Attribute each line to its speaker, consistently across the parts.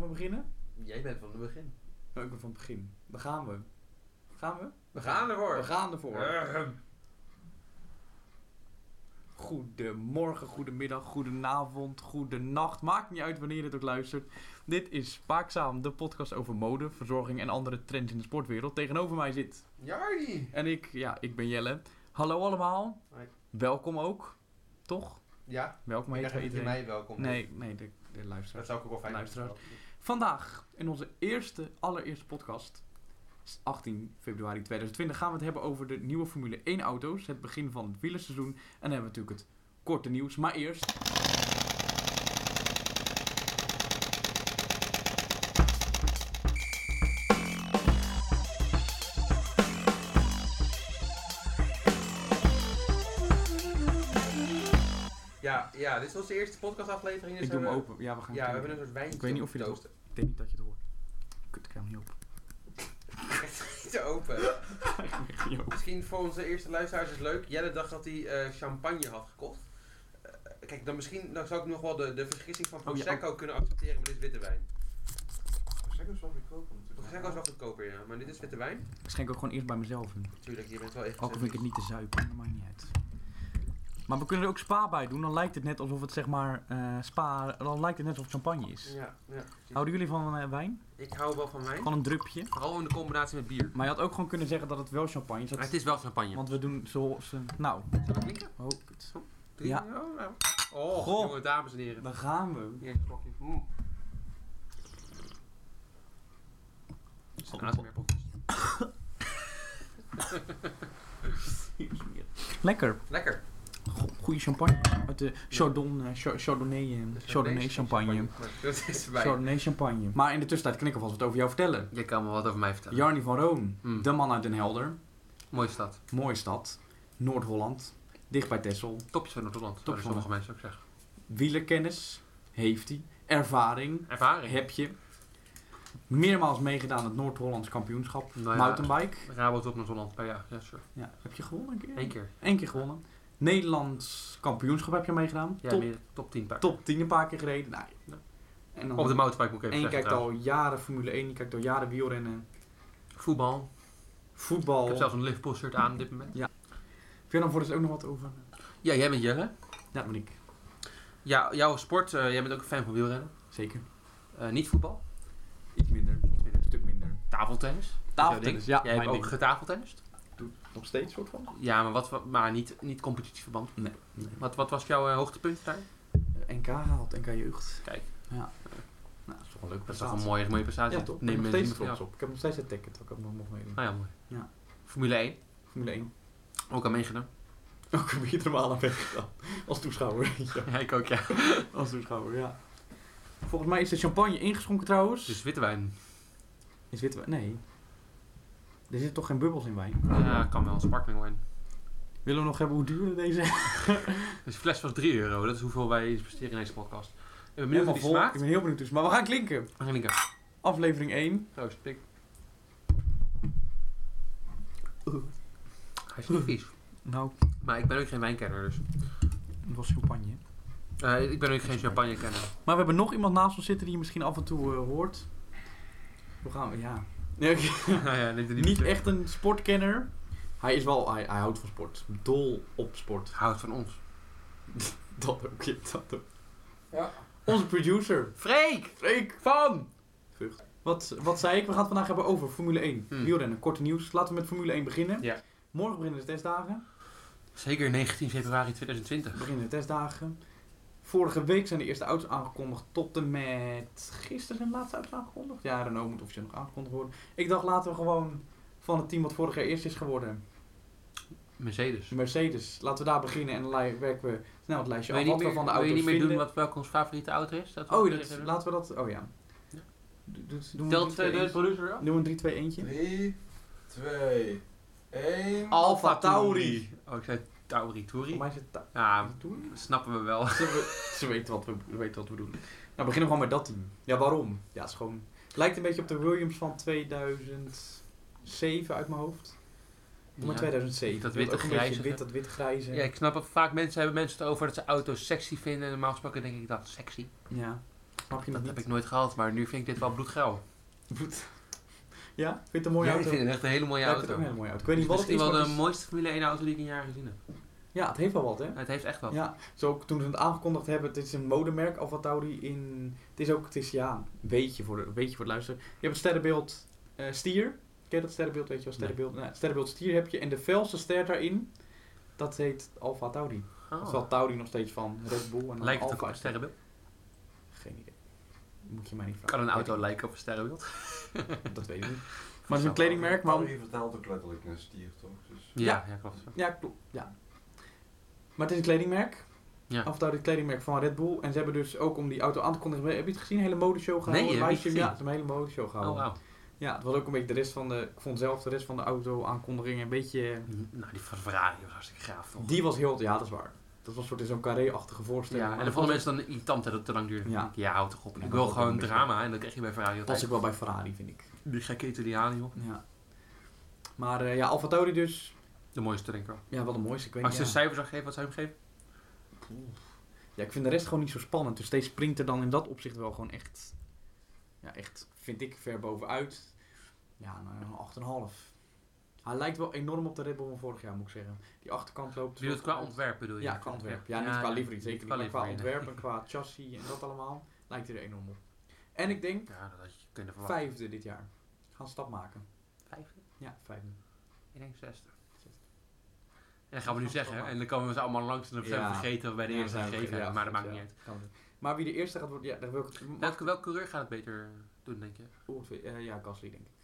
Speaker 1: we beginnen?
Speaker 2: Jij bent van het begin.
Speaker 1: Nou, ik ben van het begin. Daar gaan we. Gaan we?
Speaker 2: We gaan ervoor.
Speaker 1: We gaan ervoor.
Speaker 2: Arrgh.
Speaker 1: Goedemorgen, goedemiddag, goedenavond, goedenacht. Maakt niet uit wanneer je dit ook luistert. Dit is Spaakzaam, de podcast over mode, verzorging en andere trends in de sportwereld. Tegenover mij zit.
Speaker 2: Jardi.
Speaker 1: En ik, ja, ik ben Jelle. Hallo allemaal.
Speaker 2: Hoi.
Speaker 1: Welkom ook. Toch?
Speaker 2: Ja,
Speaker 1: Welkom
Speaker 2: ik
Speaker 1: heet
Speaker 2: dacht dat je
Speaker 1: iedereen.
Speaker 2: mij welkom
Speaker 1: Nee, nee, de, de
Speaker 2: heet. Dat
Speaker 1: luisteraars.
Speaker 2: zou ik ook wel fijn
Speaker 1: Luisteraars.
Speaker 2: vinden.
Speaker 1: Vandaag, in onze eerste, allereerste podcast, 18 februari 2020, gaan we het hebben over de nieuwe Formule 1 auto's. Het begin van het wielerseizoen. En dan hebben we natuurlijk het korte nieuws. Maar eerst...
Speaker 2: Ja, ja, dit is onze eerste podcastaflevering. dus
Speaker 1: ik doe hem
Speaker 2: hebben-
Speaker 1: open. Ja, we gaan
Speaker 2: Ja, we
Speaker 1: kijken.
Speaker 2: hebben een soort wijntje
Speaker 1: Ik weet niet of je dat-
Speaker 2: toasten.
Speaker 1: Ik denk niet dat je het hoort. Kut, ik krijg hem niet op.
Speaker 2: Te open.
Speaker 1: Ik krijg hem echt niet op.
Speaker 2: Misschien voor onze eerste luisteraars is leuk. Jelle dacht dat hij eh, champagne had gekocht. Eh, Kijk, dan misschien dan zou ik nog wel de, de vergissing van
Speaker 1: Oh, ja, ook.
Speaker 2: Prosecco kunnen accepteren, maar dit is witte wijn.
Speaker 3: Prosecco is wel goedkoper natuurlijk.
Speaker 2: Prosecco is wel goedkoper, ja, maar dit is witte wijn.
Speaker 1: Ik schenk ook gewoon eerst bij mezelf in.
Speaker 2: Natuurlijk, je bent wel even.
Speaker 1: Ook al vind ik het niet te zuipen, dat maakt niet uit. Maar we kunnen er ook spa bij doen. Dan lijkt het net alsof het zeg maar eh, spa... Dan lijkt het net alsof het champagne is.
Speaker 2: Ja, ja.
Speaker 1: Houden jullie van eh, wijn?
Speaker 2: Ik hou wel van wijn.
Speaker 1: Gewoon een drupje?
Speaker 2: Vooral in de combinatie met bier.
Speaker 1: Maar je had ook gewoon kunnen zeggen dat het wel champagne is. dat-
Speaker 2: Maar het is wel champagne.
Speaker 1: want we doen zoals... eh, nou,
Speaker 2: Zal ik drinken?
Speaker 1: oh, kut.
Speaker 2: Drie?
Speaker 1: Ja.
Speaker 2: Oh, nou. oh
Speaker 1: Goh.
Speaker 2: jongen, dames en heren.
Speaker 1: Dan gaan we.
Speaker 2: Hier een slokje. Mm. Het is een ASMR-podcast.
Speaker 1: Lekker.
Speaker 2: Lekker.
Speaker 1: Go- Goede champagne. Uit de Chardon, eh, Cha- Chardonnay, eh, Chardonnay champagne.
Speaker 2: Maar Dat is wijn.
Speaker 1: Chardonnay champagne. Maar in de tussentijd kan ik alvast wat over jou vertellen.
Speaker 2: Je kan me wat over mij vertellen.
Speaker 1: Jarny van Roon.
Speaker 2: Hmm.
Speaker 1: De man uit Den Helder.
Speaker 2: Mooie stad.
Speaker 1: Mooie stad. Noord-Holland. Dicht bij Texel.
Speaker 2: Topjes van Noord-Holland.
Speaker 1: Topjes
Speaker 2: Topjes
Speaker 1: van
Speaker 2: sommige mensen ook zeggen.
Speaker 1: Wielerkennis. Heeft hij. Ervaring.
Speaker 2: Ervaring.
Speaker 1: Heb je. Meermaals meegedaan aan het Noord-Hollands kampioenschap.
Speaker 2: Nou ja.
Speaker 1: Mountainbike.
Speaker 2: Rabot op Noord-Holland per jaar. Ja, sure.
Speaker 1: Ja, heb je gewonnen een keer?
Speaker 2: Eén keer.
Speaker 1: Eén keer gewonnen. Nederlands kampioenschap heb je meegedaan.
Speaker 2: Ja,
Speaker 1: top,
Speaker 2: meer top 10 paar.
Speaker 1: top 10 een paar keer gereden. Nou,
Speaker 2: Ja.
Speaker 1: en dan,
Speaker 2: Op de mountainbike moet ik
Speaker 1: en je
Speaker 2: even
Speaker 1: kijkt
Speaker 2: zeggen.
Speaker 1: al jaren Formule 1, je kijkt al jaren wielrennen,
Speaker 2: trouwens. Voetbal. Ik
Speaker 1: voetbal.
Speaker 2: heb zelfs een Liverpool shirt aan op dit moment.
Speaker 1: Heb je dan voor dus ook nog wat over?
Speaker 2: Ja, jij bent Jelle.
Speaker 1: Ja, dat ben ik.
Speaker 2: Ja, jouw sport. eh, jij bent ook een fan van wielrennen.
Speaker 1: Zeker.
Speaker 2: Eh, niet voetbal.
Speaker 1: Iets minder. Een stuk minder.
Speaker 2: Tafeltennis.
Speaker 1: Tafeltennis, ja,
Speaker 2: Jij hebt
Speaker 1: Ah, mijn
Speaker 2: ook
Speaker 1: ding.
Speaker 2: getafeltennist?
Speaker 1: Nog steeds soort van?
Speaker 2: Ja, maar, wat, maar niet, niet competitieverband.
Speaker 1: Nee. nee.
Speaker 2: Wat, wat was jouw eh, hoogtepunt daar?
Speaker 1: NK gehaald, NK jeugd.
Speaker 2: Kijk.
Speaker 1: Ja. Nou, dat is toch een leuke
Speaker 2: Dat is toch een
Speaker 1: prestatie.
Speaker 2: mooie, mooie prestatie.
Speaker 1: Ja, top.
Speaker 2: Neem
Speaker 1: ik ben nog
Speaker 2: mensen
Speaker 1: steeds
Speaker 2: niet meer
Speaker 1: trots op. Ik heb nog steeds het ticket, dat ik ook nog mocht meedoen.
Speaker 2: van jou. Ah ja, mooi.
Speaker 1: Ja.
Speaker 2: Formule 1,
Speaker 1: Formule 1.
Speaker 2: ook aan meegedaan.
Speaker 1: Ook heb je er maar aan weggedaan. Als toeschouwer. ja.
Speaker 2: Ja, ik ook, ja.
Speaker 1: Als toeschouwer, ja. Volgens mij is de champagne ingeschonken trouwens.
Speaker 2: Dus witte wijn.
Speaker 1: Is wit wijn? Nee. Er zitten toch geen bubbels in wijn?
Speaker 2: Ja, kan wel. Sparkling wine.
Speaker 1: Willen we nog hebben hoe duurde deze?
Speaker 2: Dus de fles was 3 euro. Dat is hoeveel wij investeren in deze podcast. Ik ben benieuwd hoe die
Speaker 1: Helemaal vol.
Speaker 2: smaakt.
Speaker 1: Ik ben heel benieuwd dus. Maar we gaan klinken.
Speaker 2: Angelika,
Speaker 1: Aflevering 1.
Speaker 2: proost. Pik. Hij is niet vies.
Speaker 1: Nou,
Speaker 2: Maar ik ben ook geen wijnkenner, dus.
Speaker 1: het was champagne.
Speaker 2: Eh, ik ben ook geen champagnekenner.
Speaker 1: Maar we hebben nog iemand naast ons zitten die je misschien af en toe eh, hoort. Hoe gaan we? Ja. Nee, oké.
Speaker 2: nou ja, niet,
Speaker 1: Niet echt een sportkenner. Hij is wel, hij, hij houdt van sport. Dol op sport.
Speaker 2: Houdt van ons.
Speaker 1: Dat ook, ja, dat ook.
Speaker 3: Ja.
Speaker 1: Onze producer.
Speaker 2: Freek!
Speaker 1: Freek van! Wat, wat zei ik? We gaan het vandaag hebben over Formule 1.
Speaker 2: Hmm.
Speaker 1: Wielrennen, korte nieuws. Laten we met Formule 1 beginnen.
Speaker 2: Ja.
Speaker 1: Morgen beginnen de testdagen.
Speaker 2: Zeker 19 februari 2020.
Speaker 1: Beginnen de testdagen. Vorige week zijn de eerste auto's aangekondigd. Tot en met gisteren zijn de laatste auto's aangekondigd. Ja, Renault moet officieel nog aangekondigd worden. Ik dacht laten we gewoon van het team wat vorig jaar eerst is geworden.
Speaker 2: Mercedes.
Speaker 1: Dus Mercedes. Laten we daar beginnen en dan li- werken we snel het lijstje
Speaker 2: Wil je
Speaker 1: af.
Speaker 2: niet
Speaker 1: Wat
Speaker 2: meer,
Speaker 1: we van de
Speaker 2: wil
Speaker 1: auto's
Speaker 2: je niet meer
Speaker 1: vinden.
Speaker 2: doen wat, welke ons favoriete auto is? Dat we
Speaker 1: Oh,
Speaker 2: dat
Speaker 1: dat,
Speaker 2: even doen?
Speaker 1: laten we dat... Oh ja.
Speaker 2: Ja.
Speaker 1: Do- do- Doen we een
Speaker 2: Telt eh,
Speaker 1: 3-2-1?
Speaker 2: de producer af?
Speaker 1: Doen we een 3-2 eentje?
Speaker 3: 3, 2, 1.
Speaker 1: Alfa
Speaker 2: Oh, ik zei Tauri.
Speaker 1: Voor
Speaker 2: Touri.
Speaker 1: mij is het... ta-
Speaker 2: Ja,
Speaker 1: Toer?
Speaker 2: dat snappen we wel.
Speaker 1: Ze, we- ze weten wat we, we weten wat we doen. Nou, we beginnen gewoon met dat team. Ja, waarom? Ja, het is gewoon... Het lijkt een beetje op de Williams van 2007 uit mijn hoofd. Kom maar
Speaker 2: Ja.
Speaker 1: 2007.
Speaker 2: Dat
Speaker 1: Je wilt
Speaker 2: witte
Speaker 1: ook een beetje
Speaker 2: grijze.
Speaker 1: Wit, dat wit grijze.
Speaker 2: Ja,
Speaker 1: Ja.
Speaker 2: ik snap het. Vaak mensen hebben mensen het over dat ze auto's sexy vinden. En normaal gesproken denk ik dat sexy.
Speaker 1: Mag je nog
Speaker 2: Dat heb
Speaker 1: niet?
Speaker 2: ik nooit gehaald, maar nu vind ik dit wel bloedgrauw.
Speaker 1: Goed. Ja, ik vind het een mooie
Speaker 2: Ja,
Speaker 1: auto.
Speaker 2: Ik vind het echt een hele mooie
Speaker 1: Ja, ik vind het
Speaker 2: auto.
Speaker 1: ook een hele mooie auto. Ik weet niet wat
Speaker 2: Het
Speaker 1: het
Speaker 2: is misschien
Speaker 1: is, maar
Speaker 2: wel
Speaker 1: het
Speaker 2: de
Speaker 1: is-
Speaker 2: mooiste Formule 1 auto die ik in jaren gezien heb.
Speaker 1: Ja, het heeft wel wat, hè?
Speaker 2: Het heeft echt wat.
Speaker 1: Ja, zo ook toen ze het aangekondigd hebben, het is een modemerk Alfa Tauri in... Het is ook, het is ja, een beetje voor, de, beetje voor het luisteren. Je hebt het sterrenbeeld eh, stier. Ken je dat sterrenbeeld, weet je wel? Sterrenbeeld, nou, het sterrenbeeld stier heb je. En de felste ster daarin, dat heet Alfa Tauri.
Speaker 2: Oh.
Speaker 1: Dat is wel Tauri nog steeds van Red Bull en dan
Speaker 2: Lijkt het ook
Speaker 1: Alfa.
Speaker 2: op een sterrenbeeld?
Speaker 1: Geen idee. Moet je mij niet vragen.
Speaker 2: Kan een
Speaker 1: Weet
Speaker 2: auto
Speaker 1: ik
Speaker 2: lijken op een sterrenbeeld?
Speaker 1: niet. Dat weet ik niet. Maar het is een kledingmerk, maar...
Speaker 3: Tauri vertaalt ook letterlijk een stier, toch? Dus
Speaker 1: Ja.
Speaker 2: Ja, Oh, ja, klopt.
Speaker 1: Ja, klopt. Ja. Maar het is een kledingmerk.
Speaker 2: Ja.
Speaker 1: Af en toe het kledingmerk van Red Bull. En ze hebben dus ook om die auto aan te kondigen. Heb je het gezien? Een hele modeshow gehouden.
Speaker 2: Nee,
Speaker 1: Een
Speaker 2: heb ik niet
Speaker 1: meisje- Ja,
Speaker 2: gezien.
Speaker 1: ze hebben een hele modeshow
Speaker 2: Oh,
Speaker 1: gehouden.
Speaker 2: wauw.
Speaker 1: Ja, het was ook een beetje de rest van de. Ik vond zelf de rest van de auto aankondiging een beetje.
Speaker 2: Nou, die van Ferrari was hartstikke gaaf, toch?
Speaker 1: Die was heel. Ja, dat is waar. Dat was een soort in zo'n carré-achtige voorstelling.
Speaker 2: Ja,
Speaker 1: Maar
Speaker 2: en dan
Speaker 1: dat
Speaker 2: vonden
Speaker 1: was-
Speaker 2: mensen dan irritant dat het te lang duurde.
Speaker 1: Ja.
Speaker 2: Ja, houd toch op.
Speaker 1: Ja,
Speaker 2: Ik
Speaker 1: dat
Speaker 2: wil
Speaker 1: ook wel
Speaker 2: gewoon
Speaker 1: een beetje.
Speaker 2: drama en dat krijg je bij Ferrari
Speaker 1: Dat was
Speaker 2: altijd.
Speaker 1: ook wel bij Ferrari, vind ik.
Speaker 2: Die gekke Italiaan, joh.
Speaker 1: Ja. Maar eh, ja, Alfa Tauri dus.
Speaker 2: De mooiste, denk ik wel.
Speaker 1: Ja, wat een mooiste. Ik weet
Speaker 2: Als je
Speaker 1: niet.
Speaker 2: een
Speaker 1: Ja.
Speaker 2: cijfer zou geven, wat zou je hem geven?
Speaker 1: ja, ik vind de rest gewoon niet zo spannend. Dus deze springt er dan in dat opzicht wel gewoon echt. Ja, echt, vind ik, ver bovenuit. Ja, nou, een, een 8,5. Hij lijkt wel enorm op de Red Bull van vorig jaar, moet ik zeggen. Die achterkant loopt...
Speaker 2: Bedoel je het qua ontwerp, bedoel je?
Speaker 1: Ja, qua ontwerp. Ja, niet qua livery zeker niet, maar qua
Speaker 2: livery, nee.
Speaker 1: ontwerp en qua chassis en dat allemaal lijkt hij er enorm op. En ik denk
Speaker 2: Ja, dat had je kunnen verwachten.
Speaker 1: vijfde dit jaar. Gaan een stap maken.
Speaker 2: Vijfde?
Speaker 1: Ja, vijfde.
Speaker 2: Ik denk zesde.
Speaker 1: Zesde.
Speaker 2: En dat gaan we nu zeggen, hè? en dan komen we ze allemaal langs en dan zijn we
Speaker 1: Ja.
Speaker 2: vergeten wat wij de
Speaker 1: Ja,
Speaker 2: eerste
Speaker 1: zijn we
Speaker 2: gegeven
Speaker 1: vergeten.
Speaker 2: hebben, maar dat
Speaker 1: Ja,
Speaker 2: maakt niet
Speaker 1: ja, kan
Speaker 2: uit.
Speaker 1: het. Maar wie de eerste gaat worden, ja, daar wil ik...
Speaker 2: Welke, welke coureur gaat het beter doen, denk je?
Speaker 1: Oeh, eh, ja, Gasly denk ik.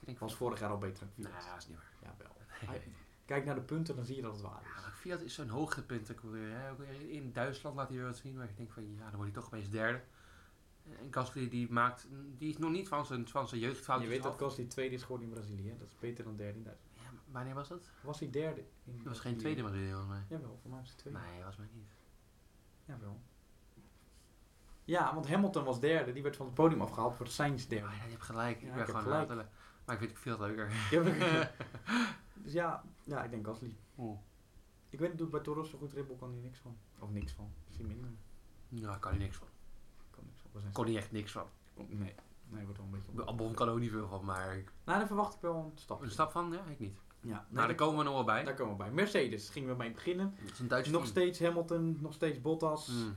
Speaker 2: Ik denk
Speaker 1: Was vorig jaar al beter dan
Speaker 2: Nou,
Speaker 1: Fiat.
Speaker 2: dat is niet waar.
Speaker 1: Jawel. Hij- Kijk naar de punten, dan zie je dat het waar is.
Speaker 2: Ja, maar Fiat is zo'n hoogtepuntencoureur. Hè? Ook weer in Duitsland laat hij weer wat zien waar ik denk van ja, dan wordt hij toch opeens derde. En Gasly die maakt, die is nog niet van zijn, van zijn jeugdfoutjes
Speaker 1: Je weet dat
Speaker 2: dus af.
Speaker 1: Gasly tweede is geworden in Brazilië. hè? Dat is beter dan derde in Duitsland.
Speaker 2: Ja, maar wanneer was dat?
Speaker 1: Was hij derde? In
Speaker 2: Dat was geen tweede maar volgens mij.
Speaker 1: Jawel, voor mij was hij tweede.
Speaker 2: Nee, was mij niet.
Speaker 1: Jawel. Ja, want Hamilton was derde. Die werd van het podium afgehaald voor Sainz
Speaker 2: Ja,
Speaker 1: derde.
Speaker 2: maar je hebt gelijk.
Speaker 1: Ja, ik
Speaker 2: ik ben
Speaker 1: heb
Speaker 2: gewoon aan
Speaker 1: gelijk.
Speaker 2: het tellen. Maar ik vind het veel leuker.
Speaker 1: dus ja, ja, ik denk Gasly. Ik weet niet, bij Toros zo goed Red Bull kan hij niks van. Of niks van. Misschien minder.
Speaker 2: Ja, daar kan hij niks van.
Speaker 1: Kan niks van. We zijn Oh,
Speaker 2: Kon hij echt niks van.
Speaker 1: Nee, nee, wordt wel een beetje op.
Speaker 2: Albon kan er ook niet veel van, maar ik-
Speaker 1: Nou, daar verwacht ik wel een stap.
Speaker 2: een stap van, ja, ik niet.
Speaker 1: Ja,
Speaker 2: Maar daar komen we nog wel bij.
Speaker 1: daar komen we bij. Mercedes gingen we mee beginnen.
Speaker 2: Het is een Duits
Speaker 1: Nog
Speaker 2: team.
Speaker 1: steeds Hamilton, nog steeds Bottas.
Speaker 2: Mm.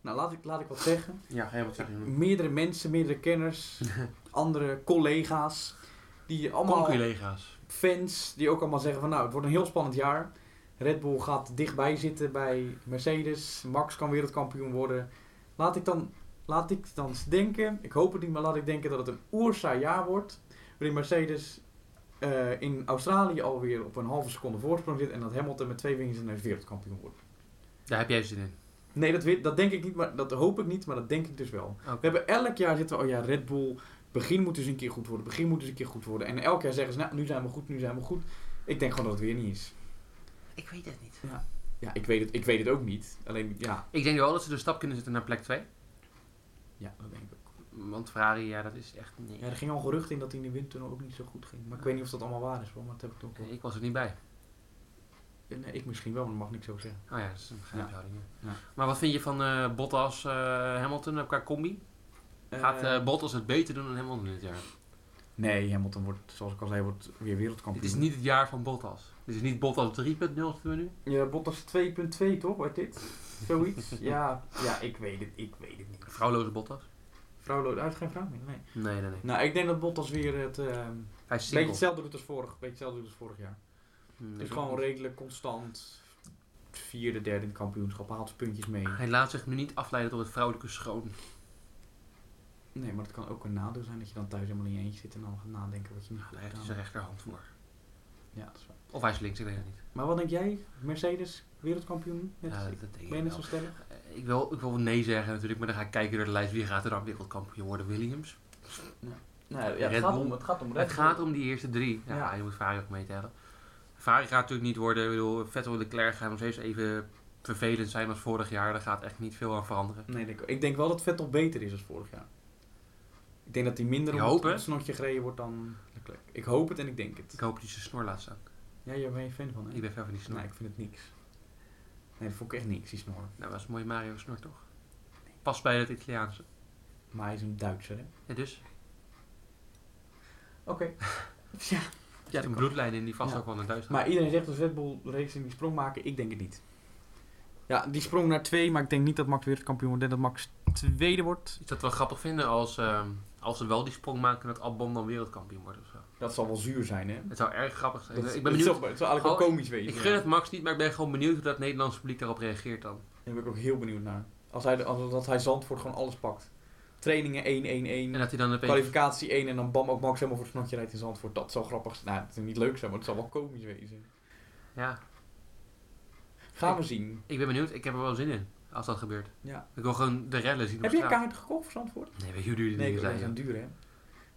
Speaker 1: Nou, laat ik, laat ik wat zeggen.
Speaker 2: Ja, helemaal zeggen.
Speaker 1: meerdere mensen, meerdere kenners, andere collega's, die allemaal
Speaker 2: collega's.
Speaker 1: fans, die ook allemaal zeggen van nou, het wordt een heel spannend jaar. Red Bull gaat dichtbij zitten bij Mercedes, Max kan wereldkampioen worden. Laat ik dan, laat ik dan eens denken, ik hoop het niet, maar laat ik denken dat het een oerzaai jaar wordt, waarin Mercedes eh, in Australië alweer op een halve seconde voorsprong zit en dat Hamilton met twee vingers in de neus wereldkampioen wordt.
Speaker 2: Daar heb jij zin in.
Speaker 1: Nee, dat, weet- dat denk ik niet, maar dat hoop ik niet, maar dat denk ik dus wel.
Speaker 2: Oké.
Speaker 1: We hebben elk jaar zitten we, oh ja, Red Bull, begin moet dus een keer goed worden, begin moet dus een keer goed worden. En elk jaar zeggen ze, nou, nu zijn we goed, nu zijn we goed. Ik denk gewoon dat het weer niet is.
Speaker 2: Ik weet het niet.
Speaker 1: Ja, ik weet het, ik weet het ook niet. Alleen, ja.
Speaker 2: Ik denk wel dat ze de stap kunnen zetten naar plek 2.
Speaker 1: Ja, dat denk ik ook.
Speaker 2: Want Ferrari, ja, dat is echt niet.
Speaker 1: Ja, er ging al gerucht in dat hij in de windtunnel ook niet zo goed ging. Maar ik weet niet of dat allemaal waar is, hoor, maar dat heb ik toch wel.
Speaker 2: Ik was er niet bij.
Speaker 1: Nee, ik misschien wel, maar dat mag niks zo zeggen.
Speaker 2: Oh ja, dat is een geheimhouding. ja.
Speaker 1: Ja.
Speaker 2: Maar wat vind je van eh, Bottas, eh, Hamilton eh, qua combi? Gaat
Speaker 1: Eh,
Speaker 2: eh, Bottas het beter doen dan Hamilton dit jaar?
Speaker 1: nee, Hamilton wordt, zoals ik al zei, wordt weer wereldkampioen.
Speaker 2: Dit is niet het jaar van Bottas. Dit is niet Bottas 3.0 dat we nu.
Speaker 1: Ja, Bottas 2.2 toch, wordt dit? Zoiets? ja, ja, ik weet het, ik weet het niet.
Speaker 2: Vrouwloze Bottas?
Speaker 1: Vrouwloos, uit geen vrouw meer, nee.
Speaker 2: Nee, nee, nee.
Speaker 1: Nou, ik denk dat Bottas weer het... ehm,
Speaker 2: Hij is
Speaker 1: Beetje
Speaker 2: single.
Speaker 1: hetzelfde doet als vorig, beetje hetzelfde doet als vorig jaar.
Speaker 2: Hmm,
Speaker 1: Het
Speaker 2: ik
Speaker 1: is gewoon
Speaker 2: ook niet.
Speaker 1: redelijk constant. Vierde, derde in het kampioenschap. Haalt puntjes mee.
Speaker 2: Hij laat zich nu niet afleiden door het vrouwelijke schoon.
Speaker 1: Nee, maar het kan ook een nadeel zijn dat je dan thuis helemaal in je eentje zit en dan gaat nadenken wat je niet
Speaker 2: Daar
Speaker 1: goed
Speaker 2: heeft hij
Speaker 1: hebt
Speaker 2: zijn
Speaker 1: gedaan.
Speaker 2: rechterhand voor.
Speaker 1: Ja, dat is waar.
Speaker 2: Of hij is links, ik weet het niet.
Speaker 1: Maar wat denk jij? Mercedes, wereldkampioen? Net
Speaker 2: Ja,
Speaker 1: als
Speaker 2: dat
Speaker 1: ik?
Speaker 2: denk ik
Speaker 1: ben je net
Speaker 2: wel.
Speaker 1: zo stellig?
Speaker 2: Eh, Ik wil, ik wil nee zeggen natuurlijk, maar dan ga ik kijken door de lijst. Wie gaat er dan wereldkampioen worden? Williams?
Speaker 1: Nou,
Speaker 2: ja, het Red gaat Bull. om-
Speaker 1: het gaat om
Speaker 2: het gaat om die eerste drie. Ja,
Speaker 1: Ja.
Speaker 2: je moet Ferrari ook meetellen. Ferrari gaat natuurlijk niet worden. Ik bedoel, Vettel en Leclerc gaan nog steeds even vervelend zijn als vorig jaar. Daar gaat echt niet veel aan veranderen.
Speaker 1: Nee, denk ik, ik denk wel dat Vettel beter is als vorig jaar. Ik denk dat hij minder
Speaker 2: Ik
Speaker 1: om
Speaker 2: hoop
Speaker 1: het- om het
Speaker 2: het.
Speaker 1: snotje gereden wordt dan Leclerc. Ik hoop het en ik denk het.
Speaker 2: Ik hoop dat hij zijn snor laat staan.
Speaker 1: Ja, jij bent een fan van hè?
Speaker 2: Ik ben fan van die snor.
Speaker 1: Nee, ik vind het niks. Nee, dat vond ik echt niks, die snor.
Speaker 2: Nou, dat is een mooie Mario snor toch? Past bij het Italiaanse.
Speaker 1: Maar hij is een Duitser, hè?
Speaker 4: Ja, dus
Speaker 1: Oké. ja.
Speaker 4: er zit een bloedlijn in die vast
Speaker 1: Ja.
Speaker 4: ook wel naar Duitsland
Speaker 1: Maar iedereen zegt dat Red Bull Racing die sprong maken. Ik denk het niet. Ja, die sprong naar twee, maar ik denk niet dat Max wereldkampioen wordt. Ik denk dat Max tweede wordt.
Speaker 4: Is dat wel grappig vinden als, ehm, als ze wel die sprong maken dat Albon dan wereldkampioen wordt of zo.
Speaker 1: Dat zal wel zuur zijn, hè?
Speaker 4: Het zou erg grappig zijn.
Speaker 1: Dat-
Speaker 4: ik ben
Speaker 1: het
Speaker 4: benieuwd.
Speaker 1: zal, het zal eigenlijk wel
Speaker 4: Gewoon-
Speaker 1: komisch wezen.
Speaker 4: Ik gun het Max niet, maar ik ben gewoon benieuwd hoe dat Nederlandse publiek daarop reageert dan.
Speaker 1: Daar ben ik ook heel benieuwd naar. Als hij, als, dat hij Zandvoort gewoon alles pakt. Trainingen 1, 1, 1.
Speaker 4: En dat hij dan opeens...
Speaker 1: Kwalificatie 1 en dan bam, ook Max helemaal voor het snotje rijdt in Zandvoort. Dat zou grappig zijn. Nou, het zou niet leuk zijn, maar het zal wel komisch wezen.
Speaker 4: Ja,
Speaker 1: Gaan we zien.
Speaker 4: ik ben benieuwd. Ik heb er wel zin in als dat gebeurt.
Speaker 1: Ja.
Speaker 4: Ik wil gewoon de rellen zien op
Speaker 1: Heb je
Speaker 4: straat.
Speaker 1: kaart gekocht voor Zandvoort?
Speaker 4: Nee, weet je hoe duur die
Speaker 1: Nee,
Speaker 4: dingen
Speaker 1: dat
Speaker 4: zijn?
Speaker 1: is een
Speaker 4: joh?
Speaker 1: duur, hè? Ik